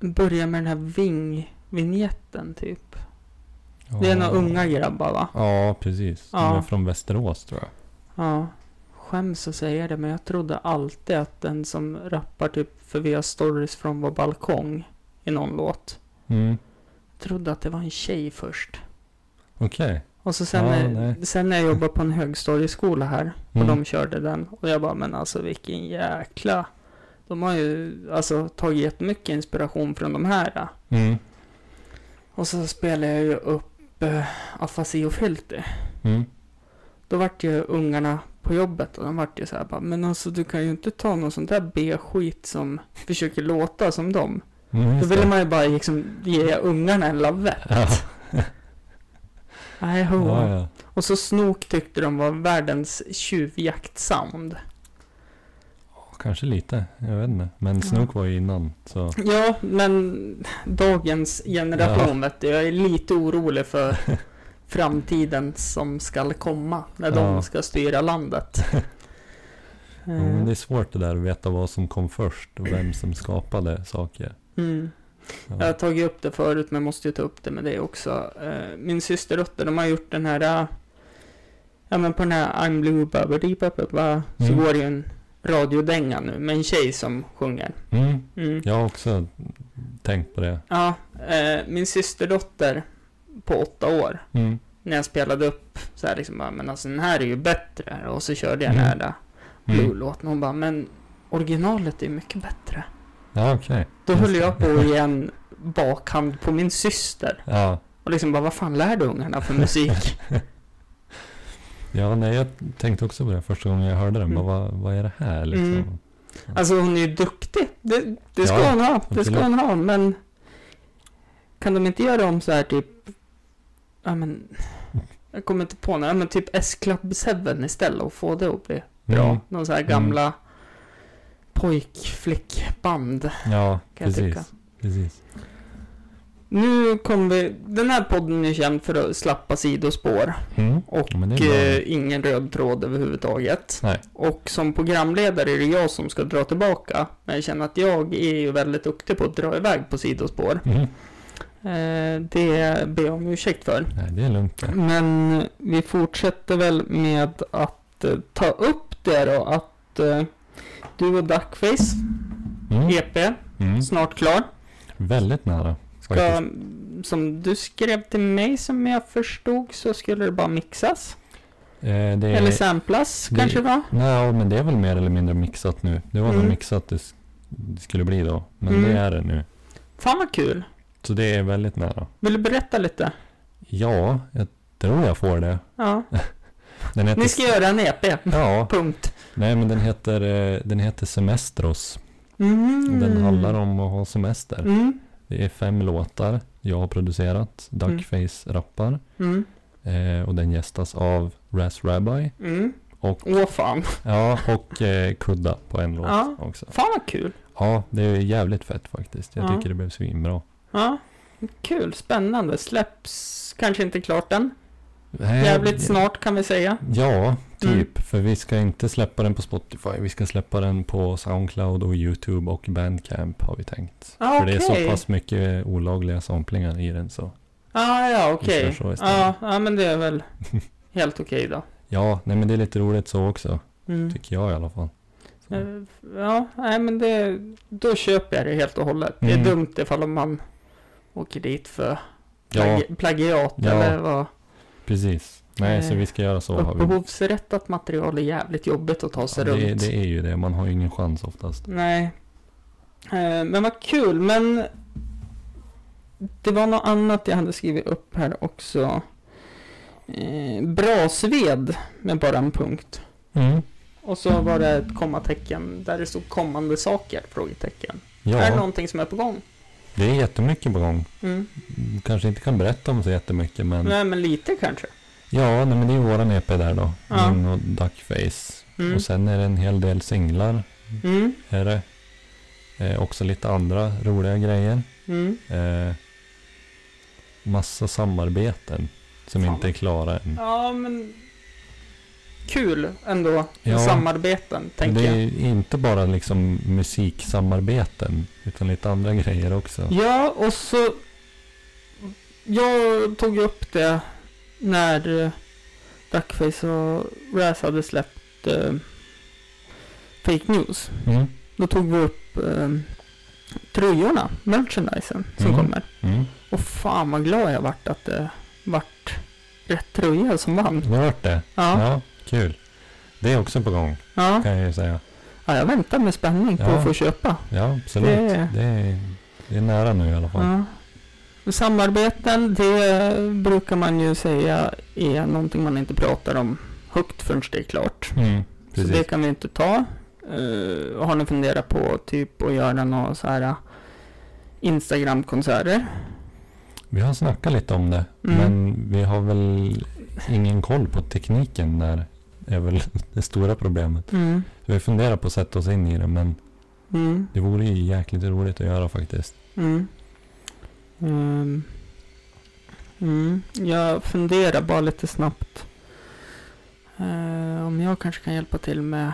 A: Börjar med den här ving vignetten typ. Det är några unga grabbar va?
B: Ja, precis.
A: Ja.
B: De är från Västerås tror jag.
A: Ja. Skäms att säga det, men jag trodde alltid att den som rappar typ för via stories från vår balkong i någon låt.
B: Mm.
A: Trodde att det var en tjej först.
B: Okej.
A: Och så sen,
B: Ja,
A: när,
B: nej.
A: sen när jag jobbade på en högstadieskola här och
B: Mm.
A: de körde den och jag bara men alltså vilken jäkla. De har ju alltså tagit jättemycket inspiration från de här. då.
B: Mm.
A: Och så spelade jag ju upp eh, Afasi och Filter.
B: Mm.
A: Då vart ju ungarna på jobbet och de vart ju så här bara, men alltså du kan ju inte ta någon sån där B-skit som försöker låta som dem.
B: Mm,
A: Då
B: just
A: ville
B: det.
A: man ju bara liksom ge ungarna en lavett.
B: Ja.
A: Nej, ho.
B: Ja, ja.
A: Och så Snook tyckte de var världens tjuvjaktsound.
B: Kanske lite, jag vet inte. Men Snook var ju innan. Så.
A: Ja, men dagens generation vet du, jag är lite orolig för framtiden som skall komma när de
B: Ja.
A: ska styra landet. Eh,
B: Jo, men det är svårt det där att veta vad som kom först och vem som skapade saker.
A: Mm.
B: Ja.
A: Jag har tagit upp det förut men måste ju ta upp det med dig också. Eh, Min systerdotter, de har gjort den här... eh, Ja men på den här I'm blue, ba, ba, di, ba, ba, ba, så
B: Mm.
A: går det ju en radiodänga nu med en tjej som sjunger.
B: Mm,
A: Mm.
B: jag har också tänkt på det.
A: Ja, eh, min systerdotter på åtta år,
B: Mm,
A: när jag spelade upp så här liksom bara, men alltså den här är ju bättre. Och så körde jag den här
B: Mm.
A: där
B: mm.
A: Blue-låten och hon bara, men originalet är ju mycket bättre.
B: Ja, okej.
A: Då
B: Just
A: höll
B: det.
A: jag på att ge en bakhand på min syster.
B: Ja.
A: Och liksom bara, vad fan lär du ungarna för musik?
B: ja, nej, jag tänkte också på det första gången jag hörde den.
A: Mm.
B: Bara, vad, vad är det här liksom?
A: Mm. alltså hon är ju duktig. Det, det ska
B: Ja,
A: hon ha. Det ska
B: absolut.
A: hon ha. Men kan de inte göra om så här typ... Ja men... Jag kommer inte på något. Ja, men typ S-Club 7 istället och få det att bli bra.
B: Mm.
A: Någon så här gamla pojkflickband.
B: Ja,
A: Kan jag tycka.
B: precis. precis.
A: Nu kommer vi... Den här podden är känd för att slappa sidospår.
B: Mm.
A: Och
B: Ja, men det är
A: Och
B: bra.
A: eh, ingen röd tråd överhuvudtaget.
B: Nej.
A: Och som programledare är det jag som ska dra tillbaka. Men jag känner att jag är ju väldigt duktig på att dra iväg på sidospår.
B: Mm.
A: Eh, det ber jag om ursäkt för.
B: Nej, det är lugnt.
A: Mm. Men vi fortsätter väl med att eh, ta upp det då att eh, du och Duckface, E
B: Mm.
A: EP,
B: Mm.
A: snart klar.
B: Väldigt nära.
A: Ska,
B: faktiskt.
A: som du skrev till mig som jag förstod så skulle det bara mixas.
B: Eh, det
A: Eller
B: är,
A: samplas
B: det-
A: kanske det var.
B: nej, men det är väl mer eller mindre mixat nu. Det var nog
A: Mm.
B: mixat det sk- det skulle bli då. Men
A: Mm.
B: det är det nu.
A: Fan vad kul.
B: Så det är väldigt nära.
A: Vill du berätta lite?
B: Ja, jag tror jag får det.
A: Ja.
B: Den heter,
A: Ni ska göra en EP.
B: Ja,
A: Punkt.
B: nej men den heter, eh, den heter Semestros.
A: Mm.
B: Den handlar om att ha semester.
A: Mm.
B: Det är fem låtar jag har producerat. Duckface rappar.
A: Mm.
B: Eh, och den gästas av Raz Rabbi.
A: Mm.
B: Och,
A: Åh fan.
B: ja, och eh, Kudda på en låt
A: Ja.
B: också.
A: Fan vad kul.
B: Ja, det är jävligt fett faktiskt. Jag
A: Ja.
B: tycker det blev svinbra.
A: Ja. Kul, spännande. Släpps kanske inte klart än.
B: Nej,
A: Jävligt snart Mm. kan vi säga.
B: Ja, typ. För vi ska inte släppa den på Spotify. Vi ska släppa den på Soundcloud och YouTube och Bandcamp har vi tänkt.
A: Ah,
B: För det är
A: okej.
B: så pass mycket olagliga samplingar i den så.
A: Ah, ja, okej.
B: Vi kör så istället.
A: Ja, ja, men det är väl helt okej då.
B: Ja, nej men det är lite roligt så också.
A: Mm.
B: Tycker jag i alla fall. Så.
A: Eh, Ja, nej men det, då köper jag det helt och hållet. Det är
B: Mm.
A: dumt ifall man åker dit för
B: Ja,
A: plagi- plagiat
B: Ja.
A: eller vad.
B: precis. Nej, så
A: Eh,
B: vi ska göra så. Har vi.
A: Upphovsrättat material är jävligt jobbigt att ta
B: Ja,
A: sig
B: det,
A: runt.
B: det är ju det. Man har ju ingen chans oftast.
A: Nej. Eh, Men vad kul, men det var något annat jag hade skrivit upp här också. Eh, Brasved med bara en punkt.
B: Mm.
A: Och så var det ett kommatecken där det stod kommande saker? Frågetecken. Är det
B: Ja,
A: någonting som är på gång?
B: det är jättemycket på gång.
A: Mm.
B: Kanske inte kan berätta om så jättemycket, men
A: Nej, men lite kanske.
B: ja, nej, men det är ju våran EP där då.
A: Ja.
B: Min och Duckface.
A: Mm.
B: Och sen är det en hel del singlar,
A: Mm.
B: är det. Eh, också lite andra roliga grejer.
A: Mm.
B: Eh, massa samarbeten som
A: Fan.
B: inte är klara än.
A: Ja, men kul ändå med
B: Ja.
A: samarbeten, tänker
B: det
A: jag.
B: är inte bara liksom musiksamarbeten, utan lite andra grejer också.
A: Ja, och så... Jag tog ju upp det när eh, Duckface och Raz hade släppt eh, Fake News.
B: Mm.
A: Då tog vi upp eh, tröjorna, merchandisen, som
B: Mm.
A: kommer.
B: Mm.
A: Och fan vad glad jag vart att det vart rätt tröja som vann.
B: Jag har hört det.
A: Ja,
B: Ja, kul. Det är också på gång,
A: ja.
B: kan jag ju säga.
A: ja jag väntar med spänning på
B: Ja.
A: att få köpa.
B: Ja, absolut.
A: Det-
B: Det är, det är nära nu i alla fall.
A: Ja. Samarbeten, det brukar man ju säga är någonting man inte pratar om högt förrän det är klart.
B: Mm,
A: Så det
B: precis.
A: kan vi inte ta. Eh, har ni funderat på typ att göra några så här eh, Instagram-konserter?
B: Vi har snackat lite om det,
A: Mm.
B: men vi har väl ingen koll på tekniken där. Det är väl det stora problemet.
A: Mm.
B: Vi funderar på att sätta oss in i det, men
A: Mm.
B: det vore ju jäkligt roligt att göra faktiskt.
A: Mm. Ehm. Mm. Jag funderar bara lite snabbt. Eh, om jag kanske kan hjälpa till med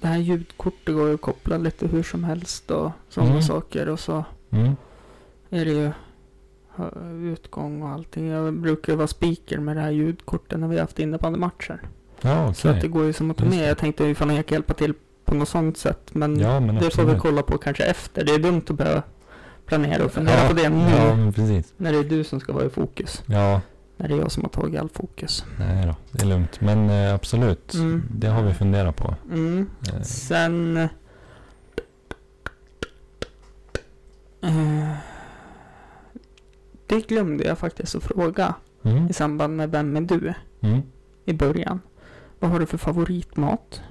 A: det här ljudkortet går ju att koppla lite hur som helst och sådana
B: Mm.
A: saker. Och så
B: Mm.
A: är det ju eh, utgång och allting. Jag brukar ju vara speaker med det här ljudkortet när vi har haft innebandymatcher.
B: Ja,
A: Så
B: okej.
A: att det går ju som att ta
B: Just
A: med.
B: det.
A: Jag tänkte ifall jag kan hjälpa till på något sånt sätt. Men
B: Ja, men
A: det får vi
B: absolut.
A: kolla på kanske efter. Det är dumt att behöva planera och fundera
B: Ja,
A: på det nu.
B: Ja, men precis.
A: När det är du som ska vara i fokus.
B: Ja,
A: När det är jag som har tagit all fokus.
B: nej då. Det är lugnt. Men eh, absolut,
A: Mm.
B: det har vi funderat på.
A: Mm.
B: Eh,
A: Sen... Eh, Det glömde jag faktiskt att fråga
B: Mm.
A: i samband med Vem är du?
B: Mm.
A: i början. Vad har du för favoritmat?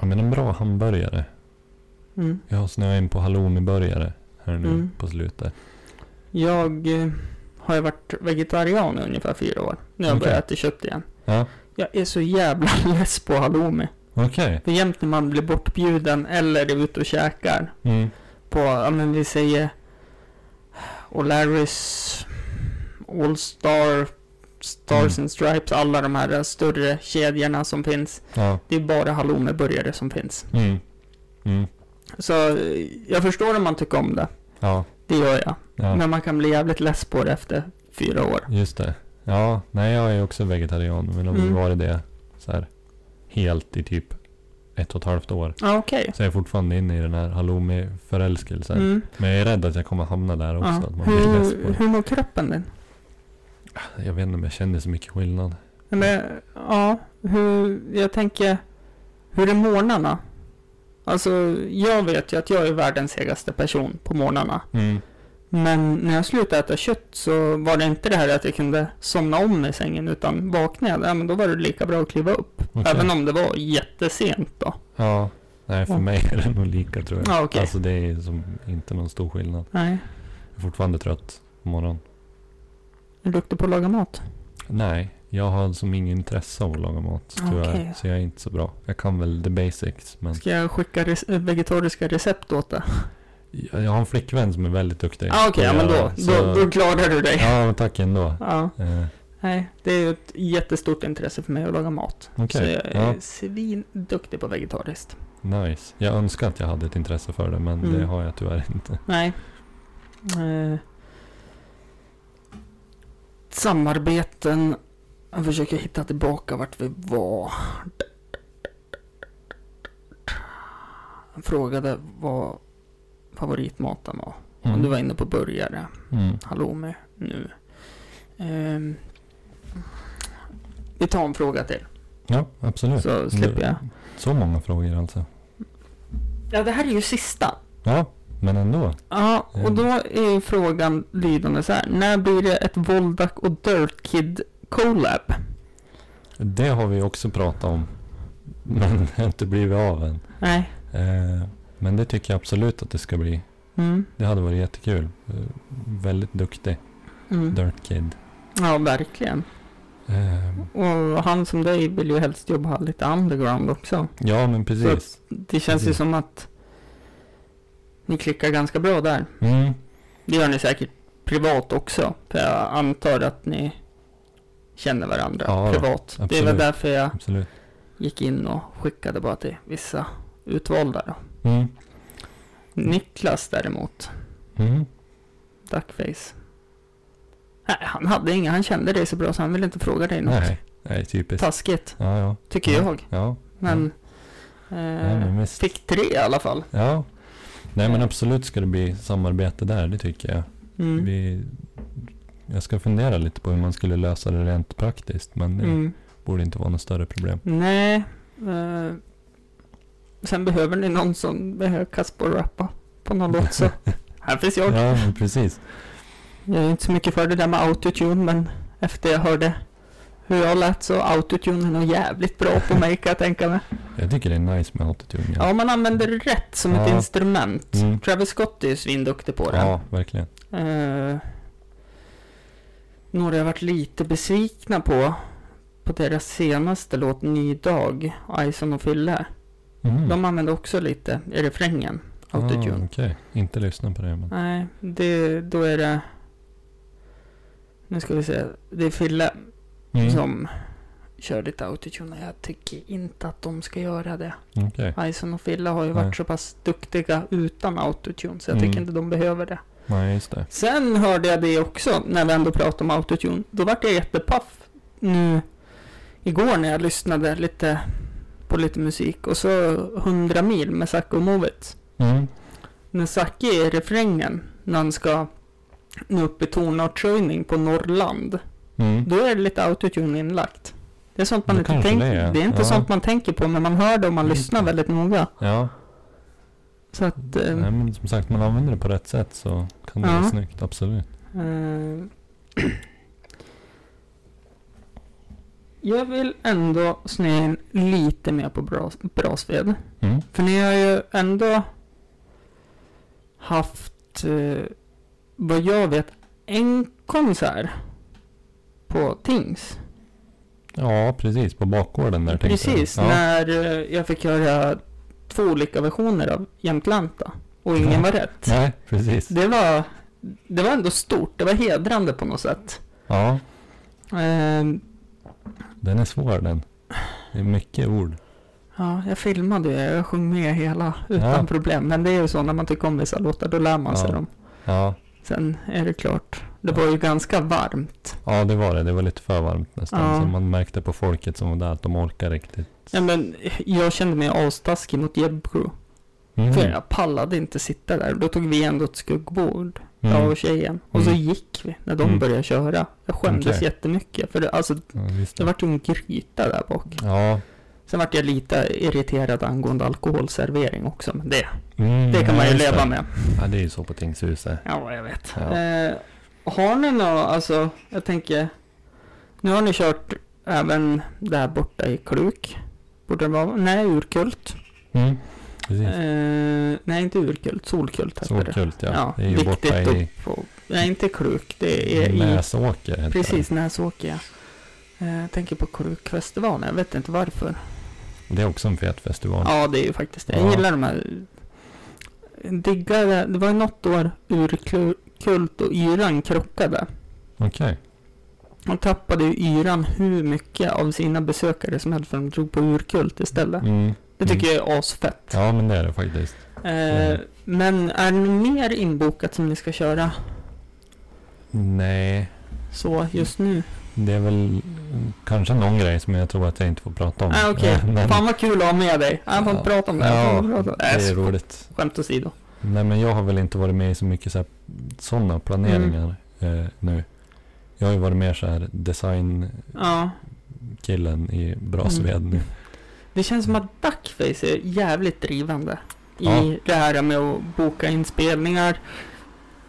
B: Ja, men en bra hamburgare.
A: Mm.
B: Jag har snöat in på halloumiburgare här nu
A: Mm.
B: på slutet.
A: Jag eh, har ju varit vegetarian i ungefär fyra år. Nu har jag
B: Okej.
A: börjat äta kött igen.
B: Ja,
A: Jag är så jävla less på halloumi.
B: okej.
A: För jämt när man blir bortbjuden eller är ute och käkar
B: Mm.
A: på, ja men vi säger O'Larrys, Allstar, Stars
B: Mm.
A: and Stripes, alla de här större kedjorna som finns.
B: Ja.
A: Det är bara halloumiburgare som finns.
B: Mm. Mm.
A: Så eh, jag förstår om man tycker om det.
B: Ja.
A: Det gör jag.
B: ja, Mm.
A: Men man kan bli jävligt less på det efter fyra år.
B: just det. Ja, nej jag är också vegetarian. Men har
A: Mm.
B: mm. varit det så här helt i typ ett och ett halvt år.
A: Ja, okej.
B: Så jag är fortfarande inne i den här halloumi-förälskelsen.
A: Mm.
B: Men jag är rädd att jag kommer hamna där också.
A: Ja.
B: Att man blir less
A: Hur,
B: på
A: hur mår kroppen din?
B: det. Jag vet inte om jag känner så mycket skillnad.
A: Nej, Men, ja, hur, jag tänker, hur är morgnarna? Alltså, jag vet ju att jag är världens segaste person på morgnarna.
B: Mm.
A: Men när jag slutade äta kött så var det inte det här att jag kunde somna om i sängen, utan vaknade jag, ja, men då var det lika bra att kliva upp.
B: Okej.
A: Även om det var jättesent då.
B: Ja, nej för
A: Ja.
B: mig är det nog lika tror jag.
A: Ja, okej.
B: Alltså det är som inte någon stor skillnad.
A: Nej,
B: Jag är fortfarande trött på morgonen.
A: är du duktig på att laga mat?
B: Nej, jag har som ingen intresse av att laga mat tyvärr.
A: Ah, Okej.
B: Så jag är inte så bra. Jag kan väl the basics. Men
A: Ska jag skicka res- vegetariska recept åt dig?
B: jag jag har en flickvän som är väldigt duktig.
A: Ja, ah, okej, ja,
B: på att
A: men
B: göra
A: då,
B: det,
A: då,
B: så-
A: då klarar du dig.
B: Ja, men tack ändå.
A: Ja,
B: Eh,
A: nej, det är ju ett jättestort intresse för mig att laga mat. Så
B: Okej,
A: jag är
B: ja,
A: svinduktig på vegetariskt.
B: nice. Jag önskar att jag hade ett intresse för det, men
A: Mm.
B: det har jag tyvärr inte.
A: Nej. Eh, samarbeten. Jag försöker hitta tillbaka vart vi var. Jag frågade vad favoritmaten var.
B: Mm.
A: Och du var inne på burgare.
B: Mm.
A: halloumi nu. Ehm, vi tar en fråga till,
B: Ja, absolut. Så,
A: så slipper jag.
B: många frågor alltså.
A: Ja, det här är ju sista.
B: Ja, men ändå.
A: Ja, och då
B: Mm.
A: är ju frågan lydande så här. När blir det ett Voldak och Dirt Kid collab?
B: Det har vi också pratat om. Men det har inte blivit av än.
A: Nej.
B: Eh, Men det tycker jag absolut att det ska bli.
A: Mm.
B: Det hade varit jättekul. Eh, Väldigt duktig
A: Mm.
B: Dirt Kid.
A: Ja, verkligen. Mm.
B: Eh,
A: Och han som dig vill ju helst jobba lite underground också.
B: Ja, men precis.
A: Det känns ju
B: Precis.
A: som att ni klickar ganska bra där.
B: Mm.
A: Det gör ni säkert privat också. För jag antar att ni känner varandra
B: Ja,
A: privat. Det var
B: absolut.
A: därför jag
B: Absolut.
A: gick in och skickade bara till vissa utvalda. Då.
B: Mm.
A: Niklas däremot,
B: Mm.
A: Duckface. Nej, han hade inga, han kände dig så bra så han ville inte fråga dig något.
B: Nej, nej, typiskt.
A: Taskigt,
B: Ja, ja.
A: tycker
B: Ja.
A: jag.
B: Ja,
A: Men,
B: nej,
A: eh,
B: men visst.
A: fick tre i alla fall.
B: Ja. Nej, men absolut ska det bli samarbete där, det tycker jag.
A: Mm.
B: Vi, jag ska fundera lite på hur man skulle lösa det rent praktiskt, men det
A: Mm.
B: borde inte vara något större problem.
A: Nej. Eh, sen behöver ni någon som behökas på att rappa på någon låt så. Här finns jag.
B: Ja, men precis.
A: Jag är inte så mycket för det där med autotune men efter jag hörde hur jag lät så autotune är nog jävligt bra på mig kan jag tänka mig.
B: Jag tycker det är nice med autotune.
A: Ja, om man använder det rätt som ett
B: Ja.
A: instrument.
B: Mm.
A: Travis Scott är ju svinduktig på den.
B: ja, verkligen.
A: Eh, några jag varit lite besvikna på, på deras senaste låt Ny Dag, Ison och Fylle.
B: Mm.
A: De använder också lite i refrängen, autotune.
B: Ah, Okej, inte lyssna på det. Men.
A: Nej, det, då är det... Nu ska vi se, det är Fylle
B: Mm.
A: som kör lite autotune. Jag tycker inte att de ska göra det.
B: Okej,
A: Ison och Fille har ju varit
B: Nej.
A: så pass duktiga utan autotune så jag
B: Mm.
A: tycker inte de behöver det.
B: nej just det.
A: Sen hörde jag det också när vi ändå pratade om autotune. Då vart jag jättepaff nu igår när jag lyssnade lite på lite musik och så 100 mil med Zacke och Movet.
B: Mm.
A: När Zacke är i refrängen när han ska nå upp i tonartshöjning på Norrland.
B: Mm.
A: Då är det lite autotune inlagt. Det är sånt man
B: Det
A: inte
B: kanske
A: tänker
B: det är.
A: Det är inte
B: Ja.
A: sånt man tänker på men man hör det om man
B: Mm.
A: lyssnar väldigt noga.
B: Ja,
A: Så att... eh,
B: nej, men som sagt, man använder det på rätt sätt så kan det
A: Ja.
B: bli snyggt, absolut.
A: Eh, Jag vill ändå snöa in lite mer på Bras- Brasved.
B: Mm.
A: För ni har ju ändå haft, eh, vad jag vet, en konsert på Tings.
B: Ja, precis. På bakgården där tänkte jag.
A: Precis,
B: Ja.
A: när eh, jag fick höra två olika versioner av Jämtlanta och
B: Ja.
A: ingen var rätt.
B: Nej, precis.
A: Det var, det var ändå stort, det var hedrande på något sätt.
B: Ja,
A: Ehm,
B: den är svår den. Det är mycket ord.
A: Ja, jag filmade ju. Jag sjöng med hela utan
B: Ja.
A: problem. Men det är ju så när man tycker om vissa låtar, då lär man sig
B: Ja.
A: dem.
B: Ja.
A: Sen är det klart. Det
B: Ja.
A: var ju ganska varmt.
B: ja, det var det. Det var lite för varmt nästan.
A: Ja.
B: Så man märkte på folket som var där att de orkar riktigt.
A: Ja, men jag kände mig astaskig mot Jebbcrew.
B: Mm.
A: För jag pallade inte sitta där. Då tog vi ändå ett skuggbord, jag
B: Mm.
A: och tjejen. Och så
B: Mm.
A: gick vi när de
B: Mm.
A: började köra. Jag skämdes
B: Okej.
A: jättemycket. För det, alltså,
B: Ja, just
A: det
B: det.
A: vart ju en gryta där bak.
B: Ja,
A: Sen vart jag lite irriterad angående alkoholservering också. Men det,
B: mm,
A: det kan man
B: ja,
A: ju
B: just
A: leva
B: det.
A: med.
B: Ja, det är ju så på tingshuset.
A: Ja, jag vet.
B: Ja.
A: Eh, har ni några, alltså, jag tänker, nu har ni kört även där borta i Kluk. Borde det vara, nej, Urkult.
B: Mm. Precis.
A: Eh, nej, inte Urkult, Solkult heter det.
B: Solkult, ja.
A: Ja,
B: Det är ju
A: viktigt
B: borta i
A: upp och, nej, inte Kluk, det är eh, i,
B: Näsåker. heter
A: precis Näsåker. ja. Eh, jag tänker på Klukfestivalen, jag vet inte varför.
B: Det. det är också en fet festival.
A: Ja, det är ju faktiskt det. Jag
B: Ja.
A: gillar de här. Diggar det. Det var ju något år Urkult och Yran krockade.
B: Okej.
A: De tappade ju yran hur mycket av sina besökare som helst för de drog på urkult istället.
B: Mm.
A: Det tycker jag är asfett.
B: Ja, men det är det faktiskt.
A: Eh,
B: Mm.
A: men är det mer inbokat som ni ska köra
B: Nej,
A: så just nu?
B: det är väl mm, kanske någon grej som jag tror att jag inte får prata om.
A: Ah, Okej,
B: Men-
A: fan vad kul att ha med dig. Jag får inte
B: Ja.
A: prata om det.
B: Ja,
A: Jag får inte
B: det
A: prata om
B: är
A: det. Äh,
B: roligt.
A: skämt åsido.
B: Nej, men jag har väl inte varit med i så mycket så här, sådana planeringar eh, nu. Jag har ju varit mer så här designkillen
A: Ja. Mm.
B: i Brasved nu.
A: Det känns som att Duckface är jävligt drivande i
B: Ja.
A: det här med att boka inspelningar,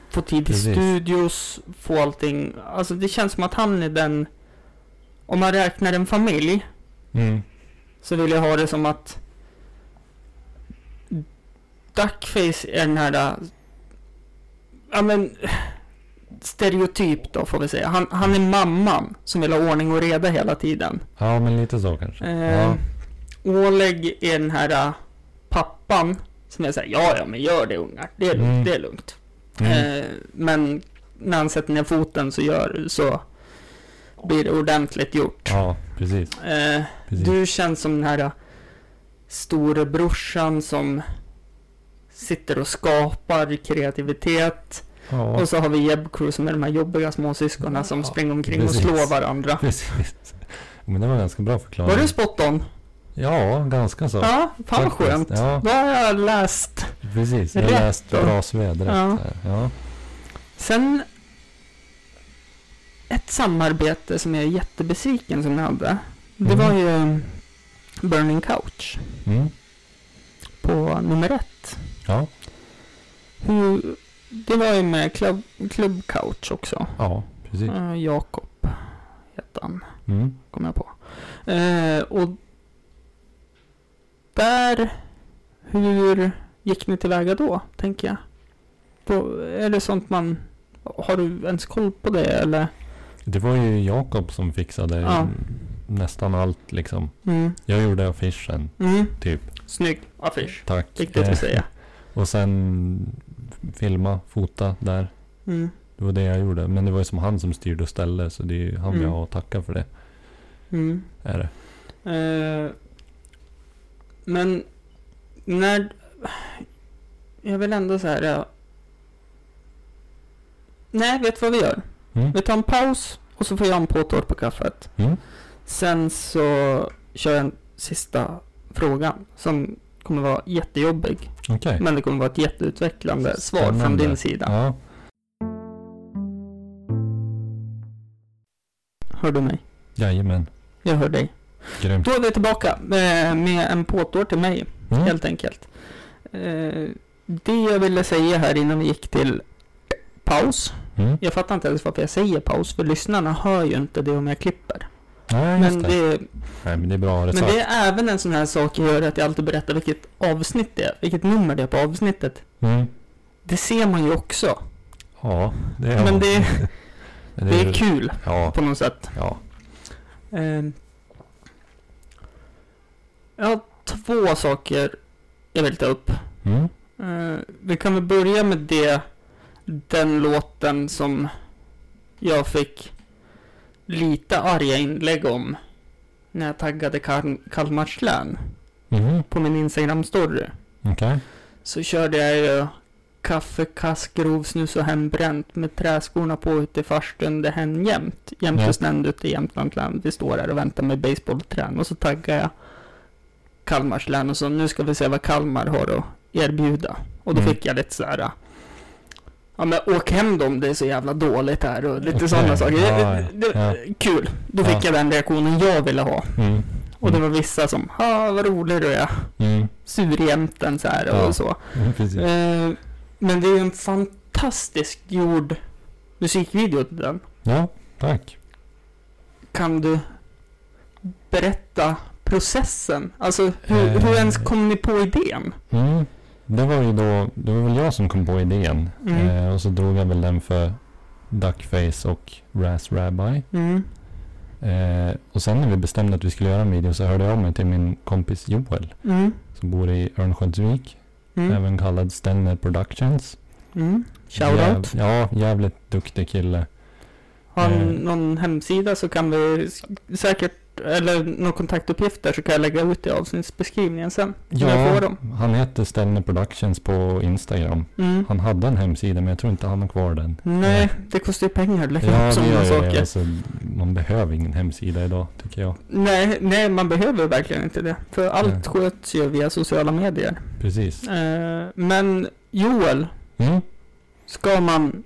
A: få tid i
B: Precis.
A: studios, få allting. Alltså det känns som att han är den om man räknar en familj
B: Mm.
A: så vill jag ha det som att Duckface är den här, äh, ja men stereotyp då får vi säga. Han, han är mamman som vill ha ordning och reda hela tiden.
B: Ja, men lite så kanske.
A: Eh,
B: Ja.
A: Oleg är den här äh, pappan som är såhär, ja ja men gör det ungar, det är lugnt,
B: Mm.
A: det är lugnt.
B: Mm.
A: Eh, men när han sätter ner foten så gör så blir det ordentligt gjort.
B: Ja, precis.
A: Eh,
B: precis.
A: Du känns som den här äh, storebrorsan som sitter och skapar kreativitet.
B: ja,
A: Och så har vi Jebcrew som är de här jobbiga småsyskonen som
B: Ja,
A: springer omkring
B: precis.
A: och slår varandra.
B: precis. Men det var ganska bra förklarat.
A: Var du spot on?
B: Ja, ganska så.
A: Ja, fan vad
B: Faktiskt,
A: skönt.
B: ja.
A: Då har jag läst.
B: Precis, jag
A: Rätt
B: läste
A: då.
B: Brasved rätt.
A: Ja.
B: där. Ja.
A: Sen ett samarbete som jag är jättebesviken som ni hade. Det
B: Mm.
A: var ju Burning Couch
B: Mm.
A: på nummer ett.
B: Ja.
A: Hur, det var ju med Club, Club Couch också.
B: ja, precis.
A: Eh, Jakob hette han,
B: Mm.
A: kom jag på. Eh, och där, hur gick ni tillväga då, tänker jag? På, är det sånt man, har du ens koll på det eller?
B: Det var ju Jakob som fixade
A: Ja.
B: nästan allt liksom.
A: Mm.
B: Jag gjorde affischen,
A: Mm.
B: typ.
A: Snygg affisch,
B: Tack.
A: viktigt att
B: Eh,
A: säga.
B: och sen filma, fota där.
A: Mm.
B: Det var det jag gjorde. Men det var ju som han som styrde och ställde så det är ju han
A: Mm.
B: vill jag ha att tacka för det.
A: Mm.
B: Är det.
A: Eh, men när... Jag vill ändå så här... ja. Nej, vet du vad vi gör?
B: Mm.
A: Vi tar en paus och så får jag en påtårta på kaffet.
B: Mm.
A: Sen så kör jag en sista frågan som kommer vara jättejobbig.
B: Okej.
A: Men det kommer vara ett jätteutvecklande svar från
B: Spännande.
A: din sida.
B: Ja.
A: Hör du mig?
B: Jajamän.
A: Jag hör dig.
B: Grymt.
A: Då är vi tillbaka eh, med en påtår till mig.
B: Mm.
A: helt enkelt. Eh, det jag ville säga här innan vi gick till paus.
B: Mm.
A: Jag fattar inte ens varför jag säger paus, för lyssnarna hör ju inte det om jag klipper.
B: Nej, just
A: Men
B: det.
A: det,
B: Nej, men det är bra att ha det
A: men
B: sagt.
A: det är även en sån här sak jag gör att jag alltid berättar vilket avsnitt det är, vilket nummer det är på avsnittet.
B: Mm.
A: Det ser man ju också.
B: Ja, det är
A: Men det, det är kul
B: Ja,
A: på något sätt.
B: ja.
A: Eh, jag har två saker jag vill ta upp.
B: Mm.
A: Eh, vi kan väl börja med det, den låten som jag fick lite arga inlägg om när jag taggade Kal- Kalmars län
B: Mhm.
A: på min Instagram-story.
B: Okej.
A: Så körde jag ju kaffe, kask, grovsnus och hembränt med träskorna på ute i farstun det hän jämt. Jämt
B: Ja.
A: och snänd ute i Jämtland land. Vi står där och väntar med baseballträn och så taggar jag Kalmars län och så nu ska vi se vad Kalmar har att erbjuda. Och då
B: Mm.
A: fick jag lite så här. Ja men åk hem då om det är så jävla dåligt här och lite
B: Okej.
A: sådana saker.
B: Ja,
A: Det, det,
B: ja.
A: Kul! Då fick
B: Ja.
A: jag den reaktionen jag ville ha.
B: Mm.
A: Och det var vissa som, ja vad rolig du är,
B: Mm.
A: surjämten så här och
B: Ja.
A: så.
B: Mm, Precis.
A: Eh, men det är ju en fantastiskt gjord musikvideo till den.
B: Ja, tack.
A: Kan du berätta processen? Alltså hur,
B: Eh.
A: hur ens kom ni på idén?
B: Mm. Det var ju då, det var väl jag som kom på idén.
A: Mm.
B: Eh, och så drog jag väl den för Duckface och Raz Rabbi.
A: Mm.
B: Eh, och sen när vi bestämde att vi skulle göra en video så hörde jag av mig till min kompis Joel.
A: Mm.
B: Som bor i Örnsköldsvik.
A: Mm.
B: Även kallad Stenner Productions.
A: Mm. Shoutout.
B: Jäv- ja, jävligt duktig kille.
A: Har
B: eh.
A: ni någon hemsida så kan vi s- säkert, eller några kontaktuppgifter så kan jag lägga ut det i avsnittsbeskrivningen sen. Ja. När jag får dem.
B: han hette Stenner Productions på Instagram.
A: Mm.
B: Han hade en hemsida men jag tror inte han har kvar den.
A: Nej, det kostar ju pengar att lägga upp
B: Ja, det
A: sådana
B: gör ju
A: saker.
B: det. Alltså, man behöver ingen hemsida idag, tycker jag.
A: Nej, nej, man behöver verkligen inte det. För allt sköts ju via sociala medier.
B: Precis.
A: Eh, Men Joel,
B: Mm.
A: ska man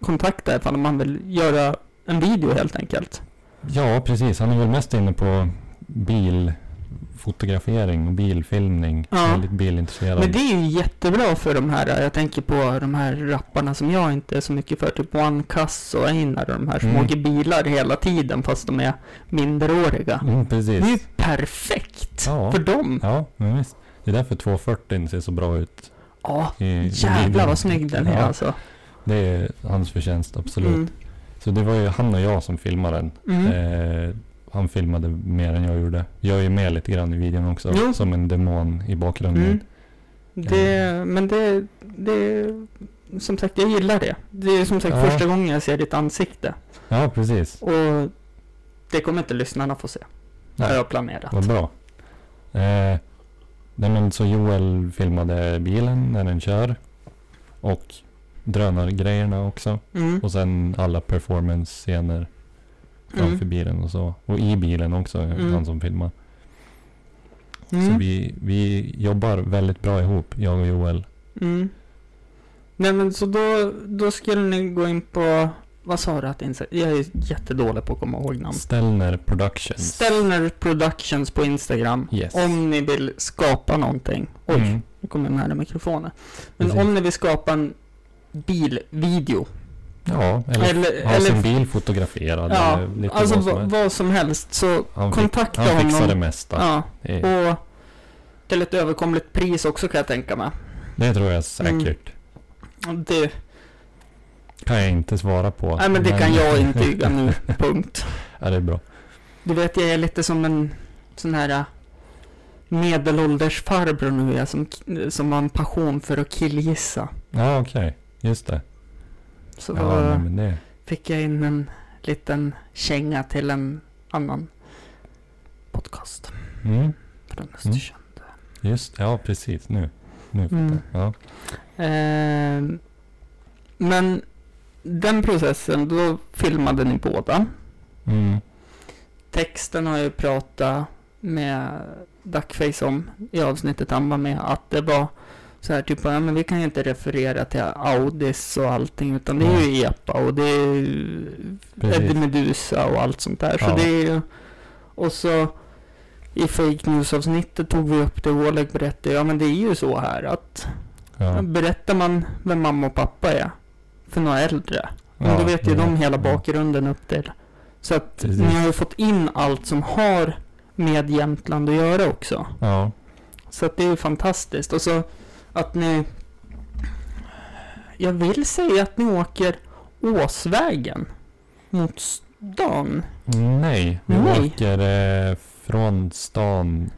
A: kontakta ifall man vill göra en video helt enkelt?
B: Ja, precis. Han är väl mest inne på bil, fotografering och bilfilmning.
A: Ja.
B: Väldigt bilintresserad.
A: Men det är ju jättebra för de här, jag tänker på de här rapparna som jag inte är så mycket för, typ One Cuss och Einar och de här som
B: Mm.
A: åker bilar hela tiden fast de är minderåriga.
B: mm,
A: Det är ju
B: precis.
A: perfekt
B: Ja.
A: för dem.
B: Ja, men visst. Det är därför 240 ser så bra ut.
A: Ja,
B: I, i
A: jävlar
B: videon.
A: vad snygg den är
B: Ja,
A: alltså.
B: Det är hans förtjänst, absolut.
A: Mm.
B: Så det var ju han och jag som filmade den.
A: Mm.
B: Eh, han filmade mer än jag gjorde. Jag är ju med lite grann i videon också,
A: Jo.
B: som en demon i bakgrunden.
A: Mm.
B: Eh.
A: Det, men det, det, som sagt jag gillar det. Det är som sagt
B: Ja.
A: första gången jag ser ditt ansikte.
B: Ja, precis.
A: Och det kommer inte lyssnarna få se. Det har
B: Nej.
A: jag planerat.
B: Vad bra. Eh, nej, men så Joel filmade bilen när den kör. Och drönargrejerna också.
A: Mm.
B: Och sen alla performance-scener framför
A: Mm.
B: bilen och så. Och i bilen också,
A: Mm.
B: han som filmar. Så
A: Mm.
B: vi, vi jobbar väldigt bra ihop, jag och Joel.
A: Mm. Nej men så då, då skulle ni gå in på, vad sa du att Insta- Jag är jättedålig på att komma ihåg namn.
B: Stellner Productions.
A: Stellner Productions på Instagram.
B: Yes.
A: Om ni vill skapa någonting. Oj,
B: Mm.
A: nu kommer den här mikrofonen. Men
B: Precis.
A: om ni vill skapa en bilvideo.
B: Ja, eller,
A: Eller,
B: ha sin
A: eller
B: bil fotograferad.
A: ja,
B: eller lite
A: alltså
B: vad som
A: va-
B: helst.
A: vad som helst. Så
B: Han, fick,
A: kontakta
B: han fixar det
A: honom.
B: mesta.
A: Ja,
B: Det,
A: och till ett överkomligt pris också kan jag tänka mig.
B: det tror jag
A: Mm.
B: säkert.
A: Och Det,
B: Kan jag inte svara på.
A: nej men det kan jag intyga nu, punkt.
B: Ja, det är bra.
A: Du vet, jag är lite som en sån här äh, medelålders farbror nu, jag som, som har en passion för att killgissa.
B: Ja, okej. Just det.
A: Så
B: Ja, nej, men det.
A: fick jag in en liten känga till en annan podcast
B: Mm,
A: från Östersund.
B: just det. Ja, precis. Nu. Nu fattar
A: Mm.
B: jag. Ja.
A: Eh, men den processen, då filmade ni båda.
B: Mm,
A: Texten har jag ju pratat med Duckface om i avsnittet han var med. Att det var så här typ, ja men vi kan ju inte referera till Audis och allting. Utan det är ju EPA och det är ju
B: Precis.
A: Eddie Eh, Medusa och allt sånt där. Så
B: Ja.
A: det är ju... Och så i fake news-avsnittet tog vi upp det. Oleg berättade, ja men det är ju så här att
B: ja.
A: berättar man vem mamma och pappa är för några äldre. Men
B: ja,
A: då vet ju
B: det-
A: de hela
B: ja.
A: bakgrunden upp till. Så att
B: Precis.
A: ni har ju fått in allt som har med Jämtland att göra också.
B: Ja,
A: Så att det är ju fantastiskt. Och så att ni... Jag vill säga att ni åker Åsvägen mot stan.
B: nej. Vi
A: Nej.
B: åker eh, från stan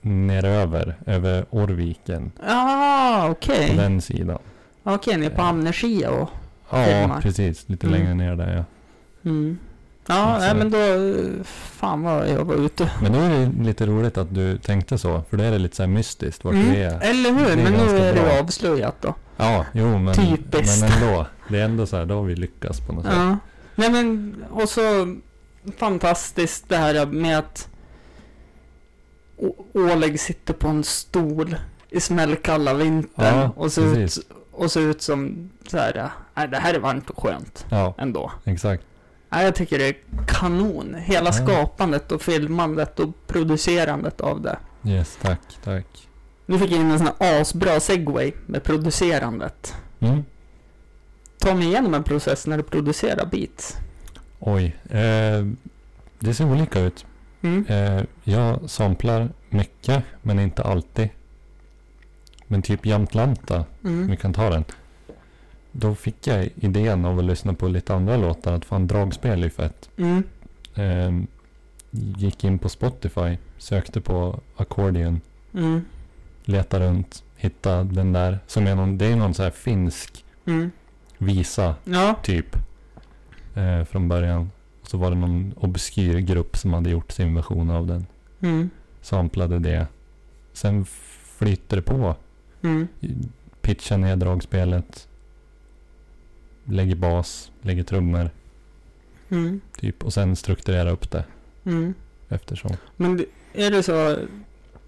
B: neröver, över Orviken.
A: Ah,
B: På
A: okej.
B: den sidan.
A: Okej, ni är på
B: Eh.
A: Amnerskia och...
B: Ja,
A: Hedmark.
B: precis. Lite
A: Mm.
B: längre ner där ja.
A: Mm. Ja,
B: Alltså-
A: nej, men då... eh, Fan vad jag var ute.
B: Men då är det lite roligt att du tänkte så, för då är det lite så här mystiskt vart
A: Mm.
B: vi är.
A: Eller
B: Det är
A: hur? Men nu
B: ganska
A: är
B: bra.
A: det avslöjat då.
B: Ja, jo men,
A: Typiskt.
B: men ändå. Det är ändå så här, då har vi lyckats på något sätt.
A: Ja. Nej men, och så fantastiskt det här med att Å- Oleg sitter på en stol i smällkalla vintern
B: Ja,
A: och, ser ut,
B: precis.
A: och ser ut som så här, nej det här är varmt och skönt
B: Ja,
A: ändå.
B: exakt.
A: Nej, jag tycker det är kanon, hela
B: Ja.
A: skapandet och filmandet och producerandet av det.
B: Yes, tack, tack.
A: Nu fick jag in en sån här asbra segway med producerandet.
B: Mm.
A: Ta mig igenom en process när du producerar beats.
B: Oj. Eh, det ser olika ut.
A: Mm.
B: Eh, jag samplar mycket, men inte alltid. Men typ Jämtlanta,
A: Mm.
B: vi kan ta den. Då fick jag idén av att lyssna på lite andra låtar, att fan dragspel är ju fett.
A: Mm.
B: Ehm, gick in på Spotify, sökte på accordion,
A: Mm.
B: letade runt, hittade den där. Som är någon, det är någon så här finsk
A: Mm.
B: visa
A: Ja.
B: typ. eh, från början. Och så var det någon obskyr grupp som hade gjort sin version av den.
A: Mm.
B: Samplade det. Sen flyter det på.
A: Mm.
B: Pitchar ner dragspelet. Lägger bas, lägger trummor.
A: Mm.
B: Typ. Och sen strukturera upp det
A: Mm.
B: eftersom.
A: Men det- är det så,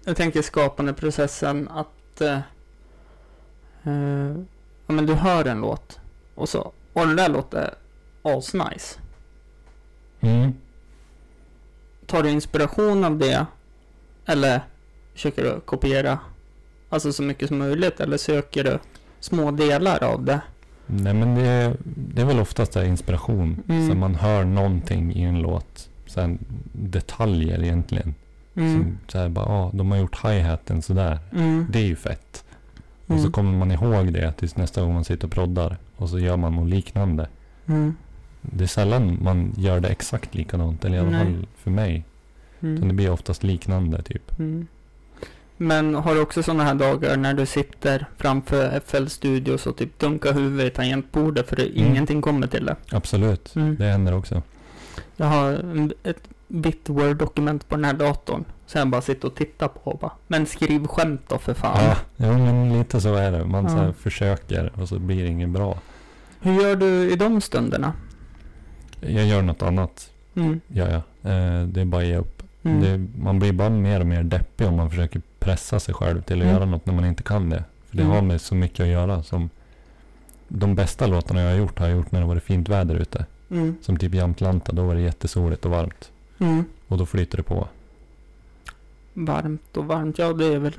A: jag tänker skapandeprocessen att eh, eh, ja, men du hör en låt och så, och den där låten är asnice.
B: Mm.
A: Tar du inspiration av det Eller försöker du kopiera? Alltså så mycket som möjligt eller söker du små delar av det?
B: Nej men det är, det är väl oftast där inspiration.
A: Mm.
B: Så man hör någonting i en låt. Sen detaljer egentligen.
A: Mm.
B: Som, så här bara, ah, de har gjort hi-haten sådär.
A: Mm.
B: Det är ju fett. Och så
A: Mm.
B: kommer man ihåg det tills nästa gång man sitter och proddar. Och så gör man något liknande.
A: Mm.
B: Det är sällan man gör det exakt likadant. Eller i alla
A: Nej.
B: fall för mig.
A: Mm.
B: Utan det blir oftast liknande typ.
A: Mm. Men har du också sådana här dagar när du sitter framför FL Studios och typ dunkar huvudet i tangentbordet för att
B: Mm.
A: ingenting kommer till det?
B: Absolut.
A: Mm.
B: Det händer också.
A: Jag har en- ett bit Word-dokument på den här datorn. Så jag bara sitter och tittar på och bara, men skriv skämt då för fan.
B: Ja, jo, men lite så är det. Man så här
A: Ja.
B: försöker och så blir det inget bra.
A: Hur gör du i de stunderna?
B: Jag gör något annat.
A: Mm.
B: Ja, ja. Eh, det är bara att ge upp.
A: Mm.
B: Det, man blir bara mer och mer deppig om man försöker pressa sig själv till att
A: Mm.
B: göra något när man inte kan det. För det
A: Mm.
B: har med så mycket att göra som de bästa låtarna jag har gjort har jag gjort när det varit fint väder ute.
A: Mm.
B: Som typ Jämtlanta, då var det jättesoligt och varmt.
A: Mm.
B: Och då flyter det på.
A: Varmt och varmt, ja det är väl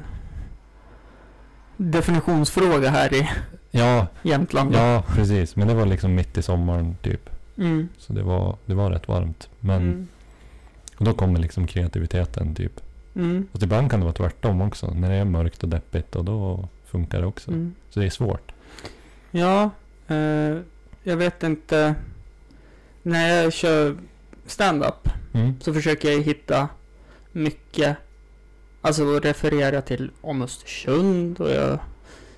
A: definitionsfråga här i
B: Ja,
A: Jämtland.
B: ja precis. Men det var liksom mitt i sommaren typ.
A: Mm.
B: Så det var, det var rätt varmt. Men
A: Mm.
B: och då kommer liksom kreativiteten typ.
A: Mm.
B: Och ibland kan det vara tvärtom också. När det är mörkt och deppigt och då funkar det också.
A: Mm.
B: Så det är svårt.
A: Ja, eh, jag vet inte. När jag kör stand-up
B: Mm.
A: så försöker jag hitta mycket, alltså att referera till om Östersund och jag,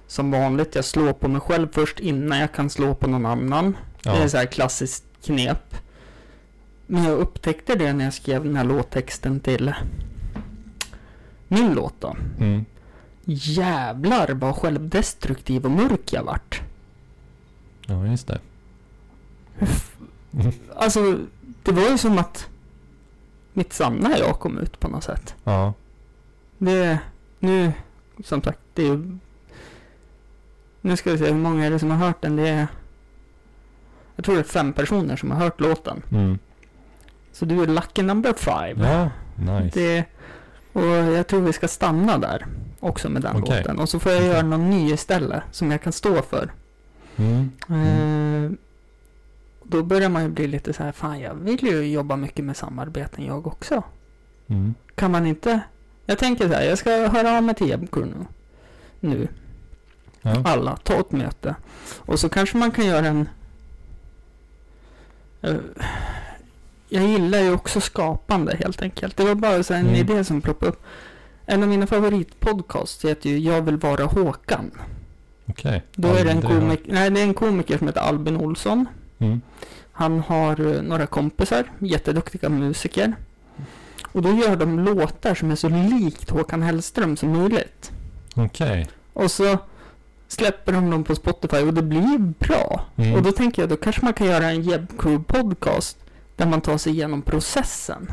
A: som vanligt, jag slår på mig själv först innan jag kan slå på någon annan. Det är
B: Ja.
A: så här klassiskt knep. Men jag upptäckte det när jag skrev den här låttexten till min låt då.
B: Mm.
A: Jävlar vad självdestruktiv och mörk jag vart.
B: ja, just det.
A: Alltså, det var ju som att mitt sanna jag kom ut på något sätt.
B: Ja.
A: Det, nu, som sagt, det är ju- Nu ska vi se, hur många är det som har hört den? Det är... Jag tror det är fem personer som har hört låten.
B: Mm.
A: Så du är lucky number five.
B: Ja, nice.
A: Det, och jag tror vi ska stanna där också med den
B: Okej.
A: låten. Och så får jag
B: Okej.
A: göra någon ny istället som jag kan stå för.
B: Mm.
A: Eh, Då börjar man ju bli lite så här, fan jag vill ju jobba mycket med samarbeten jag också.
B: Mm.
A: Kan man inte? Jag tänker så här, jag ska höra av mig till Jebko nu. Nu,
B: Ja.
A: alla, ta ett möte. Och så kanske man kan göra en... Eh, Jag gillar ju också skapande helt enkelt. Det var bara så här en
B: Mm.
A: idé som ploppade upp. En av mina favoritpodcasts heter ju Jag vill vara Håkan.
B: Okej.
A: Då är det en
B: Aldrig hört.
A: komiker, nej det är en komiker som heter Albin Olsson.
B: Mm.
A: Han har eh, några kompisar, jätteduktiga musiker. Och då gör de låtar som är så likt Håkan Hellström som möjligt.
B: Okej.
A: Och så släpper de dem på Spotify och det blir ju bra.
B: Mm.
A: Och då tänker jag, då kanske man kan göra en Jeb Crew podcast där man tar sig igenom processen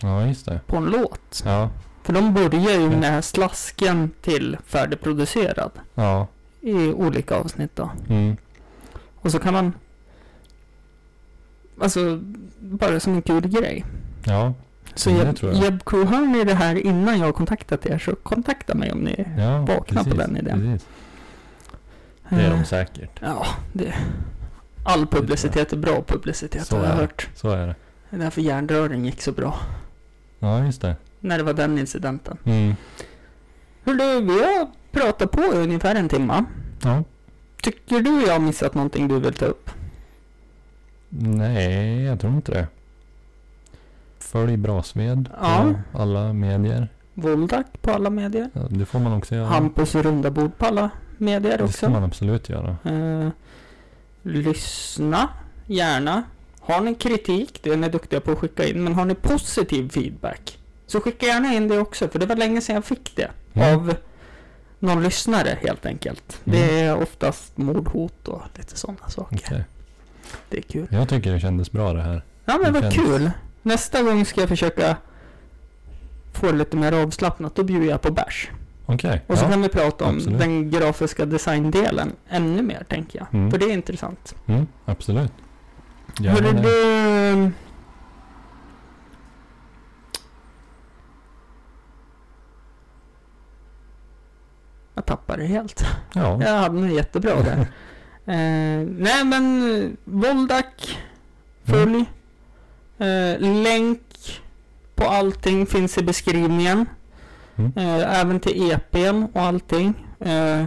B: Ja, just det.
A: på en låt.
B: Ja.
A: För de börjar ju
B: Mm.
A: med slasken till färdigproducerad
B: Ja.
A: i olika avsnitt då.
B: Mm.
A: Och så kan man... Alltså, bara som en kul grej.
B: Ja.
A: Så
B: Ja,
A: Jeb-
B: Mm, det tror jag.
A: Jebko, hör ni det här innan jag har kontaktat er så kontakta mig om ni...
B: ja.
A: Vakna på
B: precis,
A: den idén.
B: Precis. Det är
A: Eh,
B: de säkert.
A: Ja, det... All publicitet är bra publicitet
B: Så
A: har
B: är
A: jag
B: det.
A: hört.
B: Så är det.
A: Det är därför järnrören gick så bra.
B: Ja, just det.
A: När det var den incidenten.
B: Mm.
A: Hur du, vi har pratat på i ungefär en timme.
B: Ja.
A: Tycker du jag har missat någonting du vill ta upp?
B: Nej, jag tror inte det. Följ Brasved
A: Ja.
B: på alla medier.
A: Voldak på alla medier.
B: Ja, det får man också göra.
A: Hampus i runda bord på alla medier
B: det
A: också.
B: ska man absolut göra.
A: Eh, lyssna gärna. Har ni kritik, det är ni duktiga på att skicka in, men har ni positiv feedback så skicka gärna in det också, för det var länge sedan jag fick det.
B: Mm.
A: Av någon lyssnare helt enkelt.
B: Mm.
A: Det är oftast mordhot och lite sådana saker.
B: Okej.
A: Det är kul.
B: Jag tycker det kändes bra det här.
A: Ja men
B: Det
A: vad
B: känns-
A: kul. Nästa gång ska jag försöka få det lite mer avslappnat. Då bjuder jag på bärs.
B: Okej.
A: Och så
B: Ja.
A: kan vi prata om
B: absolut.
A: den grafiska designdelen ännu mer tänker jag.
B: Mm.
A: För det är intressant.
B: Mm, absolut. Gärna
A: Hörru
B: det.
A: du... det helt.
B: Ja,
A: Jag hade nog jättebra där. eh, nej men, eh, Voldak, följ. Eh, länk på allting finns i beskrivningen.
B: Mm.
A: Eh, även till EPn och allting. Eh,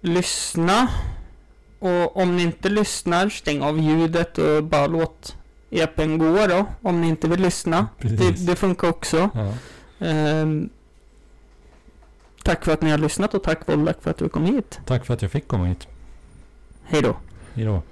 A: lyssna. Och om ni inte lyssnar, stäng av ljudet och bara låt EPn gå då. Om ni inte vill lyssna.
B: precis.
A: Det, det funkar också.
B: Ja.
A: Ehm, tack för att ni har lyssnat och tack Vollak för att du kom hit.
B: Tack för att jag fick komma hit.
A: Hej då.
B: Hejdå.